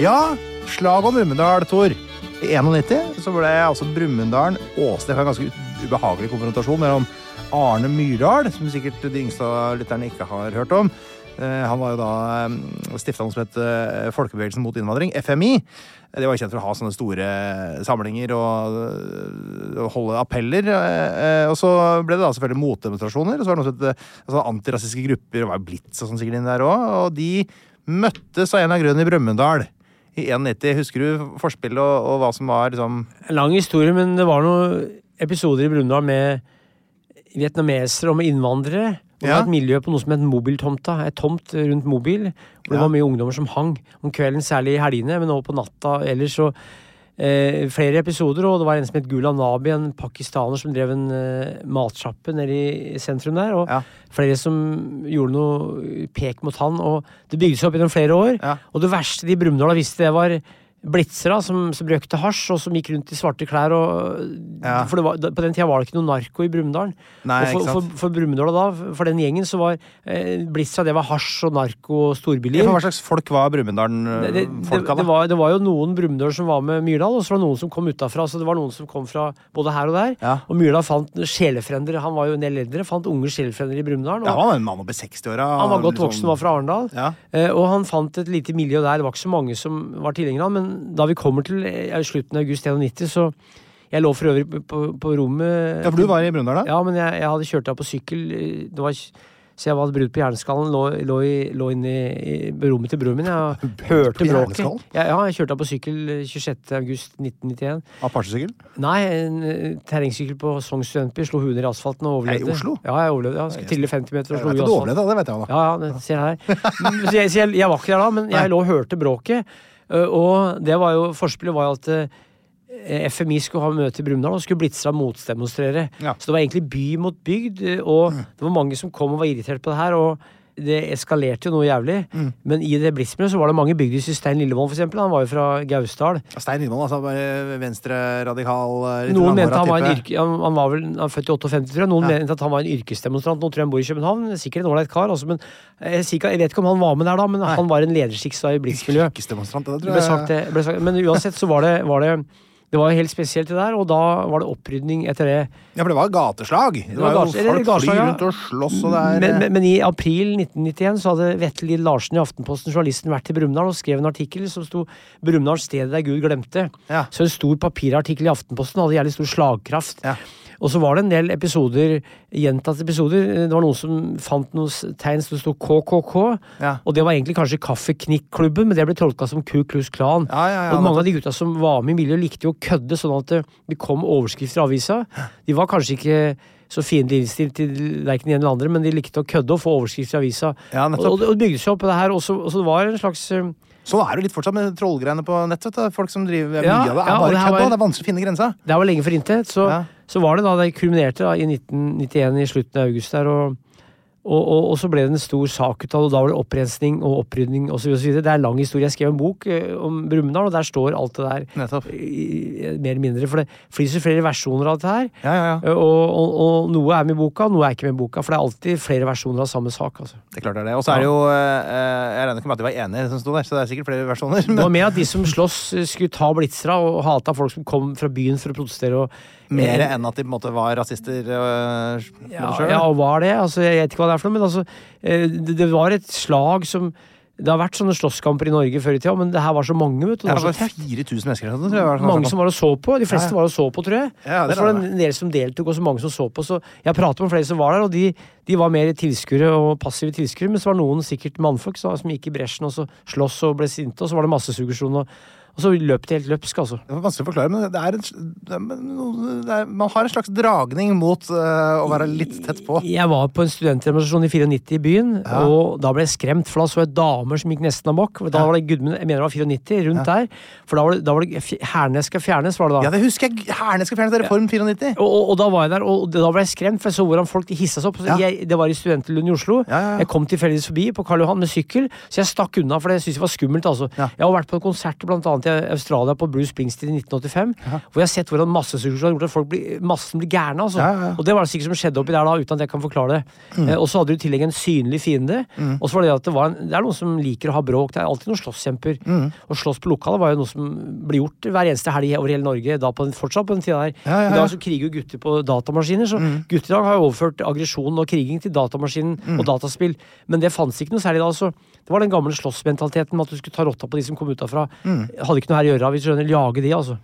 Ja, slaget om Brumunddal, Tor. I 91 så ble altså Brumunddal åsted for en ganske u- ubehagelig konfrontasjon mellom Arne Myrdal, som sikkert de yngste av lytterne ikke har hørt om. Eh, Han var jo da eh, stifta noe som het eh, Folkebevegelsen mot innvandring, FMI. Eh, De var kjent for å ha sånne store samlinger og eh, holde appeller. eh, eh, Og så ble det da selvfølgelig motdemonstrasjoner. Og så var det noe som het eh, altså antirasistiske grupper, det var jo Blitz og sånn sikkert inn der òg. Og de møttes av en av grunnen i Brumunddal i 91. Husker du forspillet og, og hva som var liksom En lang historie, men det var noen episoder i Brumunddal med vietnamesere og med innvandrere. Og Det Ja. var et miljø på noe som het Mobiltomta. Et tomt rundt mobil. Hvor det Ja. var mye ungdommer som hang. Om kvelden, særlig i helgene, men også på natta ellers. så eh, flere episoder, og det var en som het Gula Nabi, en pakistaner som drev en eh, matsjappe nede i sentrum der. Og Ja. flere som gjorde noe pek mot han. Og det bygde seg opp gjennom flere år. Ja. Og det verste de i Brumunddal visste, det var blitzere som, som røkte hasj, og som gikk rundt i svarte klær. Og, Ja. For det var, da- på den tida var det ikke noe narko i Brumunddal. Nei, Og ikke For, sant. for, for Brumunddal da, for den gjengen, så var eh, blitza det var hasj og narko og storbyliv. Ja, for hva slags folk var Det, det, det, Brumunddal-folka, det, da? var, det var jo noen Brumunddøl som var med Myrdal, og så var det noen som kom utafra. Så det var noen som kom fra både her og der. Ja. Og Myrdal fant sjelefrender, han var jo en del eldre, fant unge sjelefrender i Brumunddal. Ja, og han var en mann over 60-åra. Han var godt voksen, var fra Arendal. liksom- Ja. Eh, Og han fant et lite miljø der. Det var ikke så mange som var tilhengere av, men da vi kommer til eh, slutten av august 91, så Jeg lå for øvrig på, på, på rommet Ja, for du var i Brumunddal, da? ja, men jeg, jeg hadde kjørt av på sykkel. eh, Det var, så jeg hadde brudd på hjerneskallen. Lå, lå, i- lå inne i, i rommet til broren min. Jeg hørte bråket. hjerneskallen? Ja, ja, jeg kjørte av på sykkel eh, 26. august 1991. Apache-sykkel? Nei, en eh, terrengsykkel på Sogn studentby. Slo huet under i asfalten og Nei, i overlevde. Oslo? Ja, jeg overlevde. Jeg skulle trille 50 meter Jeg og slo vet at huet i du asfalten. overlevde, det vet jeg, da. Ja, ja, det ser jeg her. Mm, Så jeg, så jeg, jeg var ikke der da, men jeg lå og hørte bråket. øh, Og det var jo, forspillet var jo at eh, FMI skulle ha møte i Brumunddal og skulle Blitza motdemonstrere. Ja. Mm. Så det var egentlig by mot bygd, eh, og det var mange som kom og var irritert på det her. og det eskalerte jo noe jævlig, Mm. men i det blitzmiljøet så var det mange bygdehus i Stein Lillevold, for eksempel. Han var jo fra Gausdal. Stein Lindvold, altså. Bare venstre-radikal eh, litt Noen mente langhåra han var en type. yrke... Han, han var vel han er født i 58, tror jeg. Noen mente at han var en yrkesdemonstrant. Nå tror jeg han bor i København. Sikkert en ålreit kar, altså, men jeg, sier ikke- jeg vet ikke om han var med der da, men han var en lederskiks da i Blitz-miljøet. Yrkesdemonstrant, det Det tror ble sagt, jeg. det ble sagt. Men uansett så var det, var det det var jo helt spesielt det der, og da var det opprydning etter det. Ja, for det var gateslag. Det var var jo gate- eller folk gateslag, flyr ja. rundt og slåss, og det er Men, eh, men, men i april 1991 så hadde Vetle Lid Larsen i Aftenposten journalisten vært i Brumunddal og skrev en artikkel som sto 'Brumunddal stedet der Gud glemte'. Ja. Så en stor papirartikkel i Aftenposten hadde jævlig stor slagkraft. Ja. Og så var det en del episoder, gjentatte episoder. Det var noen som fant noen s- tegn som det sto KKK. Ja. Og det var egentlig kanskje Kaffeknikk-klubben, men det ble tolka som Ku Klux Klan. Ja, ja, ja, og mange av de gutta som var med i miljøet, likte jo å kødde, sånn at det- det kom overskrifter i avisa. De var kanskje ikke så fiendtlig innstilt til verken den ene eller andre, men de likte å kødde og få overskrifter i avisa. Ja, og, nettopp. og det bygde seg opp på det her, og så, og så det var en slags eh, Sånn er det jo litt fortsatt med trollgreiene på nett. vet du. Folk som driver Ja, mye av det. ja, Er og bare det her kødd, var- da. Det er vanskelig å finne grensa. Det her var lenge for intet. Så, Ja. så var det da det kulminerte da, i 1991, i slutten av august der. og og, og, og så ble det en stor sak ut av det, og da var det opprensning og opprydning osv. Det er en lang historie. Jeg skrev en bok eh, om Brumunddal, og der står alt det der. Nettopp. i- i- mer eller mindre. For det finnes jo flere versjoner av dette her. Ja, ja, ja. Og, Eh, og, og noe er med i boka, og noe er ikke med i boka. For det er alltid flere versjoner av samme sak. altså. Det er klart det er det. Og så er det jo eh, eh, Jeg regner ikke med at de var enige, som sto der, så det er sikkert flere versjoner. Det var Men med at de som sloss, eh, skulle ta blitzera og hata folk som kom fra byen for å protestere. og eh, mer enn at de på en måte var rasister eh, med ja, det selv. ja, og hva er det? Altså, jeg vet ikke hva det er for noe, men altså, eh, det, det var et slag som Det har vært sånne slåsskamper i Norge før i tida, men det her var så mange, vet du. Det Ja, var det så var 4000 mennesker eller noe sånt. tror jeg det var mange som var og så på. De fleste var og så på, tror jeg. Ja, det og så var regner det en del som deltok, og så mange som så på. Så jeg pratet med flere som var der, og de, de var mer tilskuere og passive tilskuere. Men så var noen sikkert mannfolk som som gikk i bresjen og så sloss og ble sinte, og så var det massesuggesjon. Og, og så løp de helt løpsk, altså. Det var vanskelig å forklare, men det er en, sl- det er, men noe- det er, man har en slags dragning mot eh, å være litt tett på. Jeg var på en studentdemonstrasjon i 94 i byen, og da ble jeg skremt, for da så jeg damer som gikk nesten amok. Da var det Gudmund, jeg mener det var 94, rundt der. For da var det, da var det fj- Hernes skal fjernes, var det da. Ja, det husker jeg! Herne skal fjernes, det er Reform 94. Og, og, og da var jeg der, og da ble jeg skremt, for jeg så hvordan folk hissa seg opp. Så Ja. Jeg, det var i Studentlund i Oslo. Ja, ja, ja. Jeg kom tilfeldigvis forbi på Karl Johan med sykkel, så jeg stakk unna, for det syntes jeg var skummelt. Altså. Ja. Jeg har vært på konserter blant annet i Australia, på Bruce Springsteen i 1985, hvor jeg har sett hvordan massesuggesjon har gjort at folk blir, massen blir gærne. Altså. Ja, Mm. ja, ja. Og det var det sikkert som skjedde oppi der da, uten at jeg kan forklare det. Eh, og så hadde du i tillegg en synlig fiende. Mm. Og så var det det at det var en, det er noen som liker å ha bråk, det er alltid noen slåsskjemper. Mm. Og slåss på lokalet var jo noe som ble gjort hver eneste helg over hele Norge, da på den, fortsatt på den tida der. Ja, ja, I ja. Mm. dag så kriger jo gutter på datamaskiner, så gutter i dag har jo overført aggresjon og kriging til datamaskinen og dataspill. Men det fantes ikke noe særlig da. Så det var den gamle slåssmentaliteten med at du skulle ta rotta på de som kom utafra. Mm. Hadde ikke noe her å gjøre, hvis du skjønner. Jage de, altså.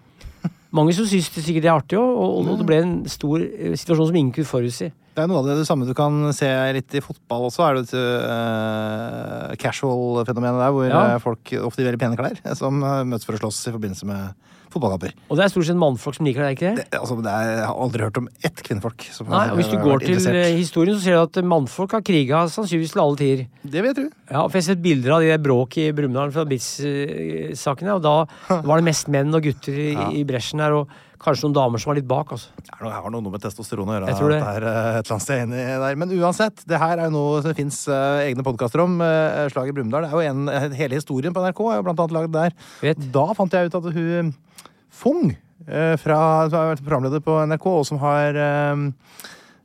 Mange som syns det sikkert det er artig òg, og, og det ble en stor eh, situasjon som ingen kunne forutsi. Det er noe av det, det samme du kan se litt i fotball også, er det dette eh, casual-fenomenet der, hvor Ja. eh, folk ofte i veldig pene klær, eh, som eh, møtes for å slåss i forbindelse med fotballkamper. Og det er stort sett mannfolk som liker det, er ikke det? Det- Altså, det er, jeg har aldri hørt om ett kvinnfolk som Nei, og Hvis du har går vært til interessert. eh, historien, så ser du at mannfolk har kriga sannsynligvis til alle tider. Det vil jeg tro. Ja, for Jeg har sett bilder av de der bråk i Brumunddal fra BITS-sakene, og da var det mest menn og gutter i, i bresjen her, og kanskje noen damer som var litt bak. altså. Det er noe, har noe med testosteron å gjøre. Jeg tror det. at er eh, et eller annet sted inni der. Men uansett, det her er jo noe som det fins egne podkaster om. eh, Slaget i Brumunddal. Det er jo en- eh, Hele historien på NRK er jo blant annet lagd der. Vet. Da fant jeg ut at hun Fung, eh, fra, som har vært programleder på NRK, og som har eh,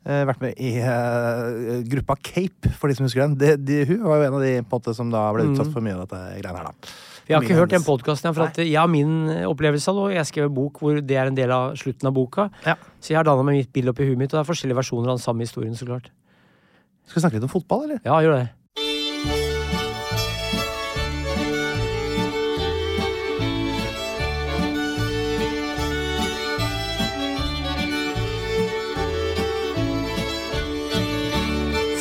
eh, vært med i eh, gruppa Cape, for de som husker den. De, de, hun var jo en av de på en måte, som da ble utsatt for mye av dette greiene her, da. Mm. Jeg har Mye ikke hørt den hennes. podkasten, for at jeg har min opplevelse av det, og jeg skrev en bok hvor det er en del av slutten av boka. Ja. Så jeg har danna meg mitt bilde oppi huet mitt, og det er forskjellige versjoner av den samme historien, så klart. Skal vi snakke litt om fotball, eller? Ja, gjør det.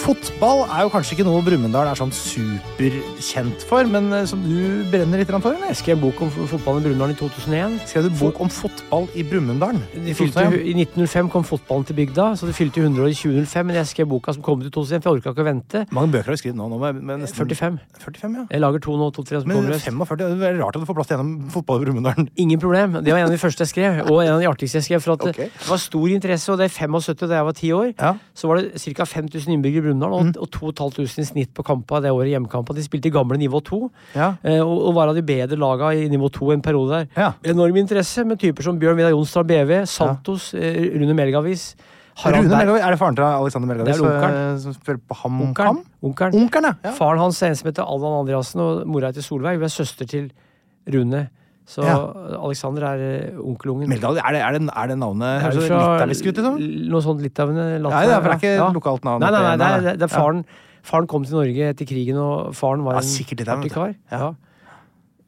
Fotball er jo kanskje ikke noe Brumunddal er sånn superkjent for, men eh, som du brenner litt grann for, eller? Jeg skrev en bok om f- fotballen i Brumunddal i 2001. Skrev du bok om fotball i Brumunddal? De fylte, Tottenham? I 1905 kom fotballen til bygda, så det fylte 100 år i 2005. Men jeg skrev boka som kom ut i 2001, for jeg orka ikke å vente. mange bøker har du skrevet nå? nå må jeg- men nesten, 45. 45, ja. Jeg lager to nå, to-tre som Men kommer. 45, det er veldig rart at du får plass til gjennom fotball i Brumunddal. Ingen problem. Det var en av de første jeg skrev, og en av de artigste jeg skrev. For at Ok. det var stor interesse, og det er 75 da jeg var 10 år. Ja. Mhm. Så var det ca. 5000 innbyggere i Brumunddal, og, og 2500 i snitt på kampa det året. hjemmekampa. De spilte i gamle nivå 2, Ja. eh, og, og var av de bedre laga i nivå 2 en periode der. Ja. Enorm interesse med typer som Bjørn Vidar Jonsdal BV, Santos, eh, Rune Melgavis Harald Rune Berg- Melgaard, er det faren til Alexander Melgaard? Det er onkelen. Som spiller på HamKam? Onkelen. Onkelen. Onkelen, ja. ja. Faren hans er en som heter Allan Andreassen, og mora heter Solveig. Hun er søster til Rune. Så Ja. Alexander er eh, onkelungen. Melgaard, er det, er det, er det navnet Er er du det fra litauisk ut, liksom? l- Noe sånn sånt litauende? Ja, ja, for det er ikke et lokalt navn. Nei, nei, nei, det Nei, er, nei. det er faren. Faren kom til Norge etter krigen, og faren var Ja, en sikkert litauer, artig vet kar. du. Ja. Ja.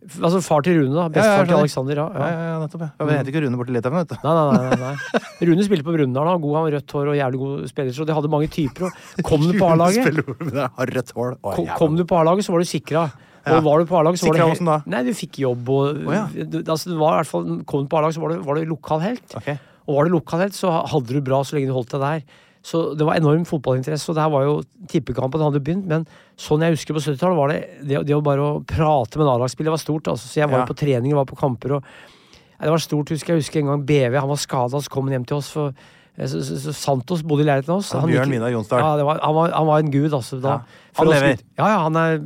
F- Altså far til Rune, da. Ja, Bestefar ja, jeg til skjønner. Alexander, ja. Ja, ja. ja, ja, nettopp. Ja, Vi heter ikke Rune borti Litauen, vet du. Nei, nei, nei, nei, nei. Rune spilte på Brumunddal. Han var god, han var rødt hår og jævlig god spiller. Så de hadde mange typer. Og kom du på A-laget, Spiller med det har rødt hår. Å, ko- jævla. kom du på A-laget, så var du sikra. Ja. Og var du på A-laget, så var du Sikra he- hvordan da? Nei, du fikk jobb og Å, ja. du, altså, det var, i hvert fall, Kom du på A-laget, så var du, var du lokal helt. Ok. Og var du lokalhelt, så hadde du bra så lenge du holdt deg der. Så det var enorm fotballinteresse, og det her var jo tippekampen hadde begynt. Men sånn jeg husker på 70-tallet, var det det, det å bare å prate med en A-lagsspiller var stort. Altså. Så jeg Ja. var jo på trening og var på kamper og Nei, Det var stort, husker jeg. Jeg husker en gang BV, han var skada, så kom han hjem til oss. For, eh, så, så, så Santos bodde i leiligheten hos oss. Ja, Bjørn Vidar Jonsdal. Ja, det var, han, var, han var en gud, altså. Da, Ja. For Han oss lever. gutt- Ja, ja, han er,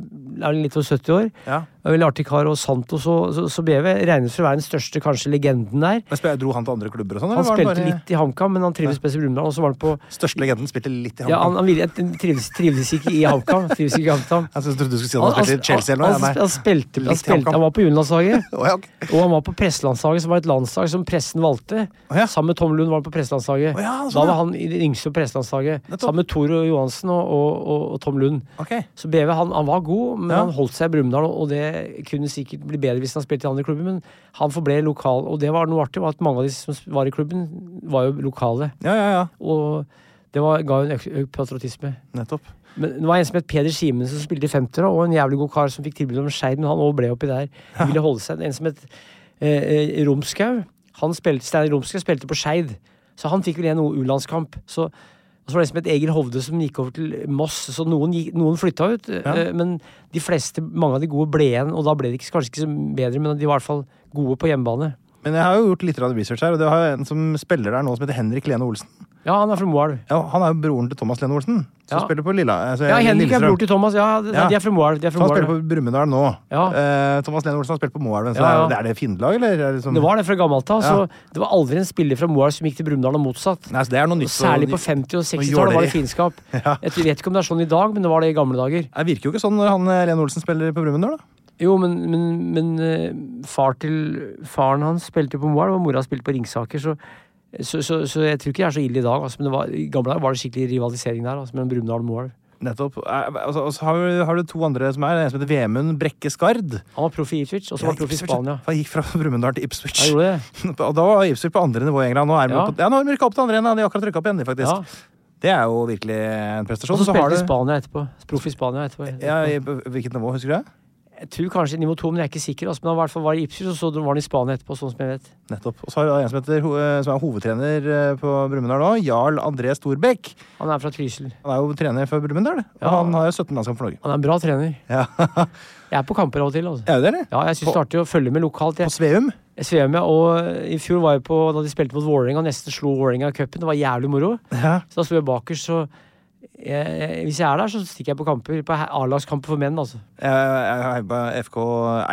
er litt over 70 år. Ja. En Veldig artig kar. Og Santos og så, så BV regnes for å være den største, kanskje, legenden der. Men spør jeg, Dro han til andre klubber og sånn? Han eller var det spilte bare- litt i HamKam, men han trives best i Brumunddal. Og så var han på Største legenden spilte litt i ja, han, HamKam. han ville, han trives, trives ikke i HamKam. Trives ikke i HamKam. Jeg synes- trodde du skulle si at han spilte i Chelsea eller noe. han, Nei. han spilte, Litt i han, spilte, HamKam. han var på juniorlandslaget. Å, ja, ok. Og han var på presselandslaget, som var et landslag som pressen valgte. Å ja. Sammen med Tom Lund var han på presselandslaget. Å ja, sånn, da ja. var han i det yngste på presselandslaget. Nettopp. Sammen med Toro Johansen og, og, og, og Tom Lund. Ok. Så BV han, han var god, men Ja. han holdt seg i Brumunddal, og det kunne sikkert bli bedre hvis han spilte i andre klubber, men han forble lokal. Og det var noe artig, var at mange av de som var i klubben, var jo lokale. Ja, ja, ja. Og det var, ga jo en økt økt patriotisme. Nettopp. Men det var en som het Peder Simensen som spilte i 50-åra, og en jævlig god kar som fikk tilbud om Skeid, men han også ble oppi der. Han ville holde seg. En som het eh, eh, Romskau, han spilte, Steiner Romskau spilte på Skeid, så han fikk vel en U-landskamp. Så, og så var det en som het Egil Hovde som gikk over til Moss, så noen, gikk, noen flytta ut. eh, men de fleste, mange av de gode ble igjen, og da ble de ikke, kanskje ikke så bedre, men de var i hvert fall gode på hjemmebane. Men jeg har jo gjort litt grann research her, og det har jo en som spiller der nå, som heter Henrik Lene Olsen. Ja, han er fra Moelv. Ja, han er jo broren til Thomas Lene Olsen, som Ja. spiller på Lilla... Altså, Ja, Henrik er Lillestrøm. bror til Thomas. Ja, de, Ja. de er fra Moelv. de er fra Så han Moelv. spiller på Brumunddal nå. Ja. Eh, Thomas Lene Olsen har spilt på Moelven, så Ja, ja. det er, det er det fiendelag, eller? Er det, liksom- Det var det fra gammelt av. Ja. Så det var aldri en spiller fra Moelv som gikk til Brumunddal og motsatt. Nei, så det er noe nytt. Og Særlig på og- 50- jåleri. og 60-tallet var det fiendskap. Ja. Jeg vet ikke om det er sånn i dag, men det var det i gamle dager. Det virker jo ikke sånn når han eh, Lene Olsen spiller på Brumunddal, da. Jo, men, men, men eh, far til faren hans spilte jo på Moelv, og mora spilte på Ringsaker, så så, så, så jeg tror ikke det er så ille i dag, altså, men det var, i gamle dager var det skikkelig rivalisering der altså, mellom Brumunddal og Moelv. Nettopp. Eh, altså, Og så har, du- har du to andre som er, en som heter Vemund Brekke Skard. Han var proff i Ipswich, og så var han proff i Ipswich, Spania. Han gikk fra Brumunddal til Ipswich. Han gjorde det. og da var Ipswich på andre nivå i England. Nå er de Ja. på, ja, nå har de rykka opp til andre igjen. da. De har akkurat rykka opp igjen, de, faktisk. Ja. Det er jo virkelig en prestasjon. Og har så spilte han i du- Spania etterpå. Proff i Spania etterpå. ja, i, Hvilket nivå, husker du det? Jeg tror kanskje nivå to, men jeg er ikke sikker. Altså, men han i hvert fall var i Ipswich, og så var han i Spania etterpå, sånn som jeg vet. Nettopp. Og så har vi da en som, heter, ho- eh, som er hovedtrener eh, på Brumunddal nå, Jarl André Storbekk. Han er fra Trysil. Han er jo trener for Brumunddal, og Ja. han har jo 17 landskamp for Norge. Han er en bra trener. Ja, Jeg er på kamper av og til, altså. Er det det? Ja, jeg syns det er artig å følge med lokalt. På Jeg, Sveum? jeg svever med, og eh, i fjor var jeg på da de spilte mot Vålerenga, nesten slo Vålerenga i cupen. Det var jævlig moro. Ja. Så da sto jeg bakerst, så jeg, Hvis jeg er der, så stikker jeg på kamper. På he- A-lagskamper for menn, altså. Jeg jeg heier på FK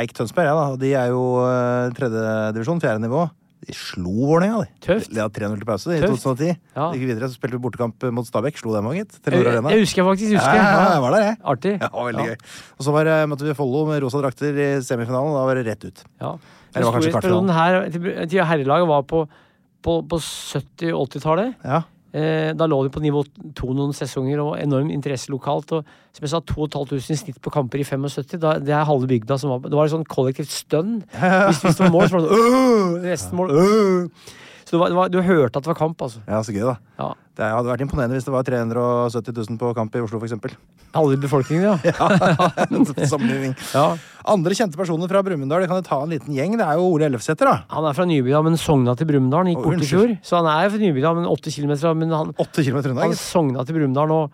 Eik Tønsberg, jeg, da. Og de er jo eh, tredjedivisjon, fjerde nivå. De slo Vålerenga, de. Tøft. De hadde 3-0 til pause i Tøft. 2010. Ja. De gikk videre, så spilte vi bortekamp mot Stabæk. Slo dem òg, gitt. Jeg, Telenor jeg, Arena. husker jeg faktisk. Ja, husker jeg. ja, jeg var der, jeg. Artig. Ja, veldig gøy. Og så var, eh, møtte vi Follo med rosa drakter i semifinalen. Da var det rett ut. Ja. Eller det var kanskje Storhetsperioden her til- til herrelaget var på, på, på 70- og 80-tallet. Ja. Eh, da lå de på nivå to noen sesonger og enorm interesse lokalt. Og som jeg sa, 2500 i snitt på kamper i 75. Da, det er halve bygda som var Det var et sånn kollektivt stønn. Hvis, hvis det var mål, så var det sånn «Åh!» Nesten mål. «Åh!» Så det var, det var, du hørte at det var kamp, altså. ja, så gøy, da. Ja. Det hadde vært imponerende hvis det var 370 000 på kamp i Oslo, f.eks. Halve befolkningen, ja. sånn Sammenligning. ja. Andre kjente personer fra Brumunddal, det kan jo ta en liten gjeng. Det er jo Ole Ellefsæter, da. Han er fra Nybygda, men sogna til Brumunddal. Gikk Å, bort i unnskyld. fjor. Så han er fra Nybygda, men åtte kilometer. Men han, Åtte kilometer unna. han gitt. sogna til Brumunddal, og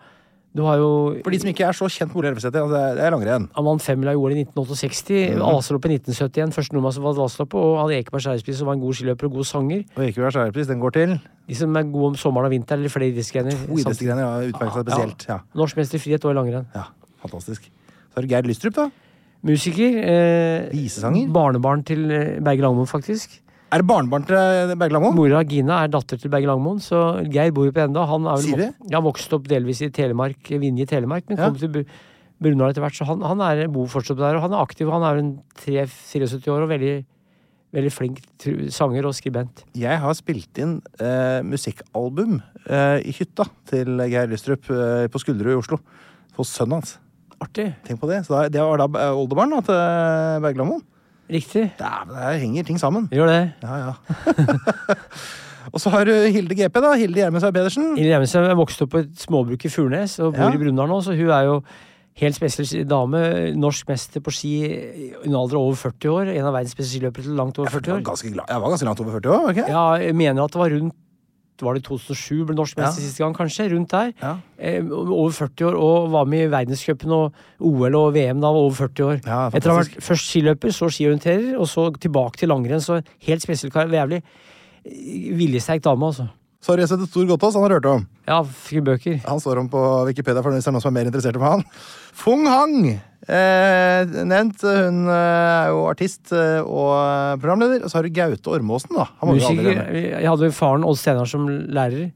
du har jo For de som ikke er så kjent med Ole Elvesæter, altså, det er- det er langrenn. Han vant femmila i OL i Mhm. 1968, mm. i 1971, første nordmann som vant Vasaloppet, og hadde Ekeberg skjærespis som var en god skiløper og god sanger. Og ikke hver skjærepris, den går til De som er gode om sommeren og vinteren, eller flere idrettsgrener. to idrettsgrener. Ja, utmerket seg Ja. spesielt. Ja. Norsk mester i frihet og i langrenn. ja, fantastisk. Så har du Geir Lystrup, da. Musiker. Eh, Visesanger. Barnebarn til eh, Berge Langmoen, faktisk. Er det barnebarn til eh, Berge Langmoen? Mora Gina er datter til Berge Langmoen, så Geir bor jo på Enda. Han er Sier vel det? vok ja, vokst opp delvis i Telemark, eh, Vinje i Telemark, men Ja. kom til Br- Brumunddal etter hvert, så han, han er, bor fortsatt der. Og han er aktiv, han er en 73 år og veldig, veldig flink tru- sanger og skribent. Jeg har spilt inn eh, musikkalbum eh, i hytta til Geir Lystrup eh, på Skulderud i Oslo. For sønnen hans. Artig. Tenk på det. Så da, det var da eh, oldebarn da, til eh, Berge Langmoen. Riktig. Dæven, der henger ting sammen. Gjør det. Ja, ja. Og så har du Hilde GP, da. Hilde Gjermundsen Pedersen. Ingrid Evensen er vokst opp på et småbruk i Furnes og bor Ja. i Brumunddal nå, så hun er jo helt spesiell dame. Norsk mester på ski i en alder av over 40 år. En av verdens beste skiløpere til langt over Jeg 40 var år. ganske, glad. jeg var ganske langt over 40 år, var jeg ikke? Ja, jeg mener at det var rundt var det 2007 ble norsk mester Ja. siste gang, kanskje? Rundt der. Ja. Eh, over 40 år, og var med i verdenscupen og OL og VM da, var over 40 år. Ja, Etter å ha fantastisk. vært først skiløper, så skiorienterer, og så tilbake til langrenn. Så helt spesiell kar. Jævlig viljesterk dame, altså. Så har jeg sett et stor godt oss, han har hørt om. Ja, fikk bøker. Han står om på Wikipedia for hvis det er noen som er mer interessert om han. Fung Hang, eh, nevnt. Hun eh, er jo artist eh, og programleder. Og så har du Gaute Ormåsen, da. Han må vi jo aldri Musiker. glemme. Jeg hadde jo faren Odd Steinar som lærer.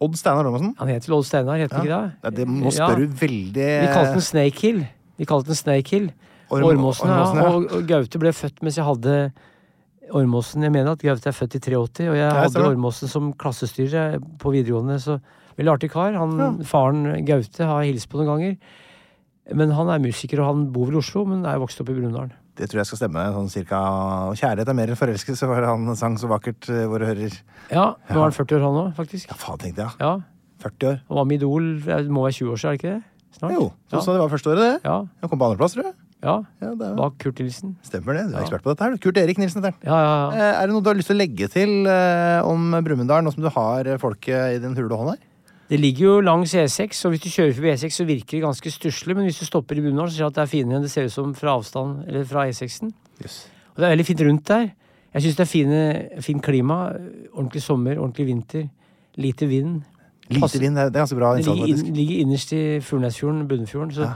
Odd Steinar Ormåsen. Han het vel Odd Steinar, het han Ja. ikke Ja, det? det må Ja. spørre du veldig Vi kalte den Snake Hill. Vi kalte den Snake Hill. Orm- Ormåsen, Ormåsen, ja. ja. Og, og Gaute ble født mens jeg hadde Ormåsen. Jeg mener at Gaute er født i 83, og jeg hadde stemmer. Ormåsen som klassestyrer eh, på videregående. Så veldig artig kar. Han, Faren Gaute har jeg hilst på noen ganger. Men han er musiker, og han bor vel i Oslo, men er vokst opp i Brumunddal. Det tror jeg skal stemme. sånn cirka Kjærlighet er mer enn forelskelse, var det han sang så vakkert, eh, våre hører. Ja, nå er han 40 år, han òg, faktisk. Ja, faen, tenkte jeg. Ja, 40 år. Han var med i Idol, det må være 20 år siden, er det ikke det? Snart? Jo. Ja. Så, så det var første året, det. Ja, Han kom på andreplass, tror jeg. ja. Ja, det er- Bak Kurt Nilsen. Stemmer det. Du er ekspert på dette her, du. Kurt Erik Nilsen heter han. Ja, ja, ja. Eh, Er det noe du har lyst til å legge til eh, om Brumunddal, nå som du har eh, folket i din hule hånd her? Det ligger jo langs E6, og hvis du kjører forbi E6, så virker det ganske stusslig, men hvis du stopper i Brumunddal, så ser du at det er finere enn det ser ut som fra avstand, eller fra E6-en. Og det er veldig fint rundt der. Jeg syns det er fine, fint klima. Ordentlig sommer, ordentlig vinter. Lite vind. Lite Pass- vind, det er det er ganske bra Det innsats, ligger, faktisk. inn, ligger innerst i Furnesfjorden, Bunnefjorden, så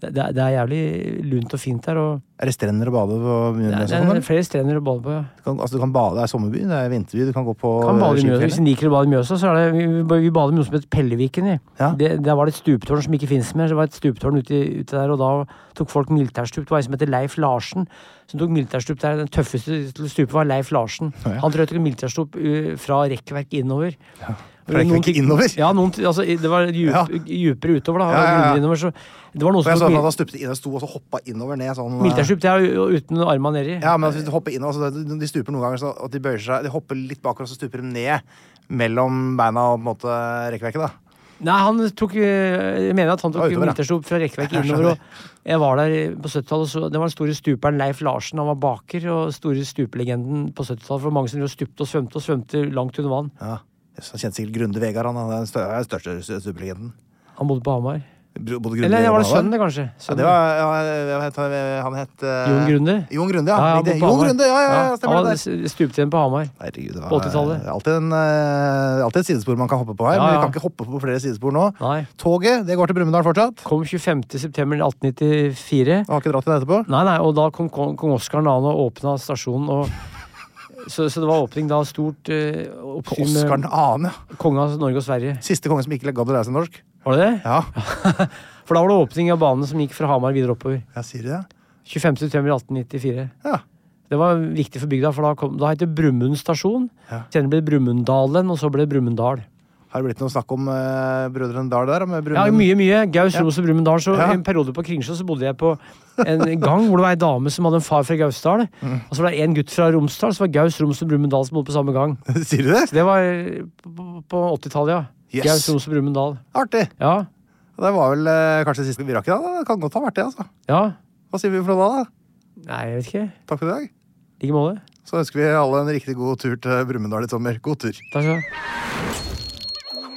det, det er- det er jævlig lunt og fint der. Og Er det strender å bade på det er, Brumunddal? det sånn, er eller? flere strender å bade på. Ja. Du kan- Altså, du kan bade, det er sommerby, det er vinterby, du kan gå på Kan bade i Mjøsa. Hvis skifjellet. en liker å bade i Mjøsa, så er det Vi, vi- vi bader med noe som het Pelleviken. i. Ja. Det, der var det et stuptårn som ikke fins mer. Det var et stuptårn ute, ute der, og da tok folk militærstup. Det var en som heter Leif Larsen som tok militærstup der. Den tøffeste til stupet var Leif Larsen. Han tror jeg tok militærstup uh, fra rekkverk innover. Fra rekkverk Noen ting- innover? Ja, noen, ti- altså, det var djup, Ja. djupere utover, da. Ja, ja, ja. Grundigere Innover, så det var noen Og jeg som så tok at mil- han da stupte inn og sto og så hoppa innover ned sånn eh, militærstup. Det er jo uten arma nedi. Ja, men altså, hvis du hopper innover, så de- de stuper noen ganger sånn at de bøyer seg De hopper litt bakover, og så stuper de ned mellom beina og på en måte rekkverket, da. Nei, han tok eh, Jeg mener at han Ja, utover, tok ja. vinterstop fra rekkeverket innover. Og jeg var der på 70-tallet, så det var den store stuperen Leif Larsen. Han var baker og store stupelegenden på 70-tallet. For mange som drev og stupte og svømte og svømte langt under vann. Ja. Så Han kjente sikkert Grunde Vegard, han er den stø- er den største superlegenden. Han bodde på Hamar. Bro- bodde Grunde Eller Vegard var det på Hamar? sønnen, det, kanskje? Ja, Sønnen. det var, ja, hva het han, han het eh, Jon Grunde? Jon Grunde, ja. Riktig. han bodde på Jon Hamar. Grunde, ja, ja, ja, stemmer han det. der. s- stupte igjen på Hamar. Herregud, det var På 80-tallet. Alltid, en, eh, alltid et sidespor man kan hoppe på her, Ja, men ja. vi kan ikke hoppe på flere sidespor nå. Nei. Toget det går til Brumunddal fortsatt. Kom 25.9.1894. Jeg har ikke dratt til det etterpå. Nei, nei, og da kom kong, kong Oskar 2. og åpna stasjonen. og så, så det var åpning da. Stort eh, oppsyn Oskar med 2., ja. kongen av Norge og Sverige. Siste konge som ikke gadd å lære seg norsk. Var det det? Ja, For da var det åpning av banen som gikk fra Hamar videre oppover. jeg sier det. 25.9.1894. Ja. Det var viktig for bygda, for da, kom, da het det Brumund stasjon. Ja. Senere ble det Brumunddalen, og så ble det Brumunddal. Har det blitt noe snakk om eh, Brødrene Dal der? Med Ja, Brumund? mye, mye. Gaus, Ros og Brumunddal. Så Ja. en periode på Kringsjå så bodde jeg på en gang hvor det var ei dame som hadde en far fra Gausdal. Mm. Og så var det en gutt fra Romsdal, så var Gaus, Roms og Brumunddal som bodde på samme gang. sier du det? Det var eh, på- på 80-tallet, ja. Yes. Gaus, Ros og Brumunddal. Artig. Ja. Det var vel eh, kanskje det siste vi rakk i dag. da. Det kan godt ha vært det, altså. Ja. Hva sier vi for noe da? da? Nei, jeg vet ikke. Takk for i dag. I like måte. Så ønsker vi alle en riktig god tur til Brumunddal i sommer. God tur. Takk skal du ha.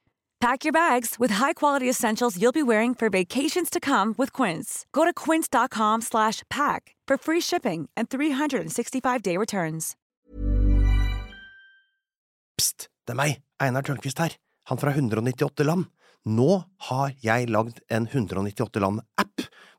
Pack your bags with high-quality essentials you'll be wearing for vacations to come with Quince. Go to quince.com/pack slash pack for free shipping and 365-day returns. Pst, det er meg, Einar Tørnquist her, han fra 198 land. Nå har jeg lagd en 198 land-app,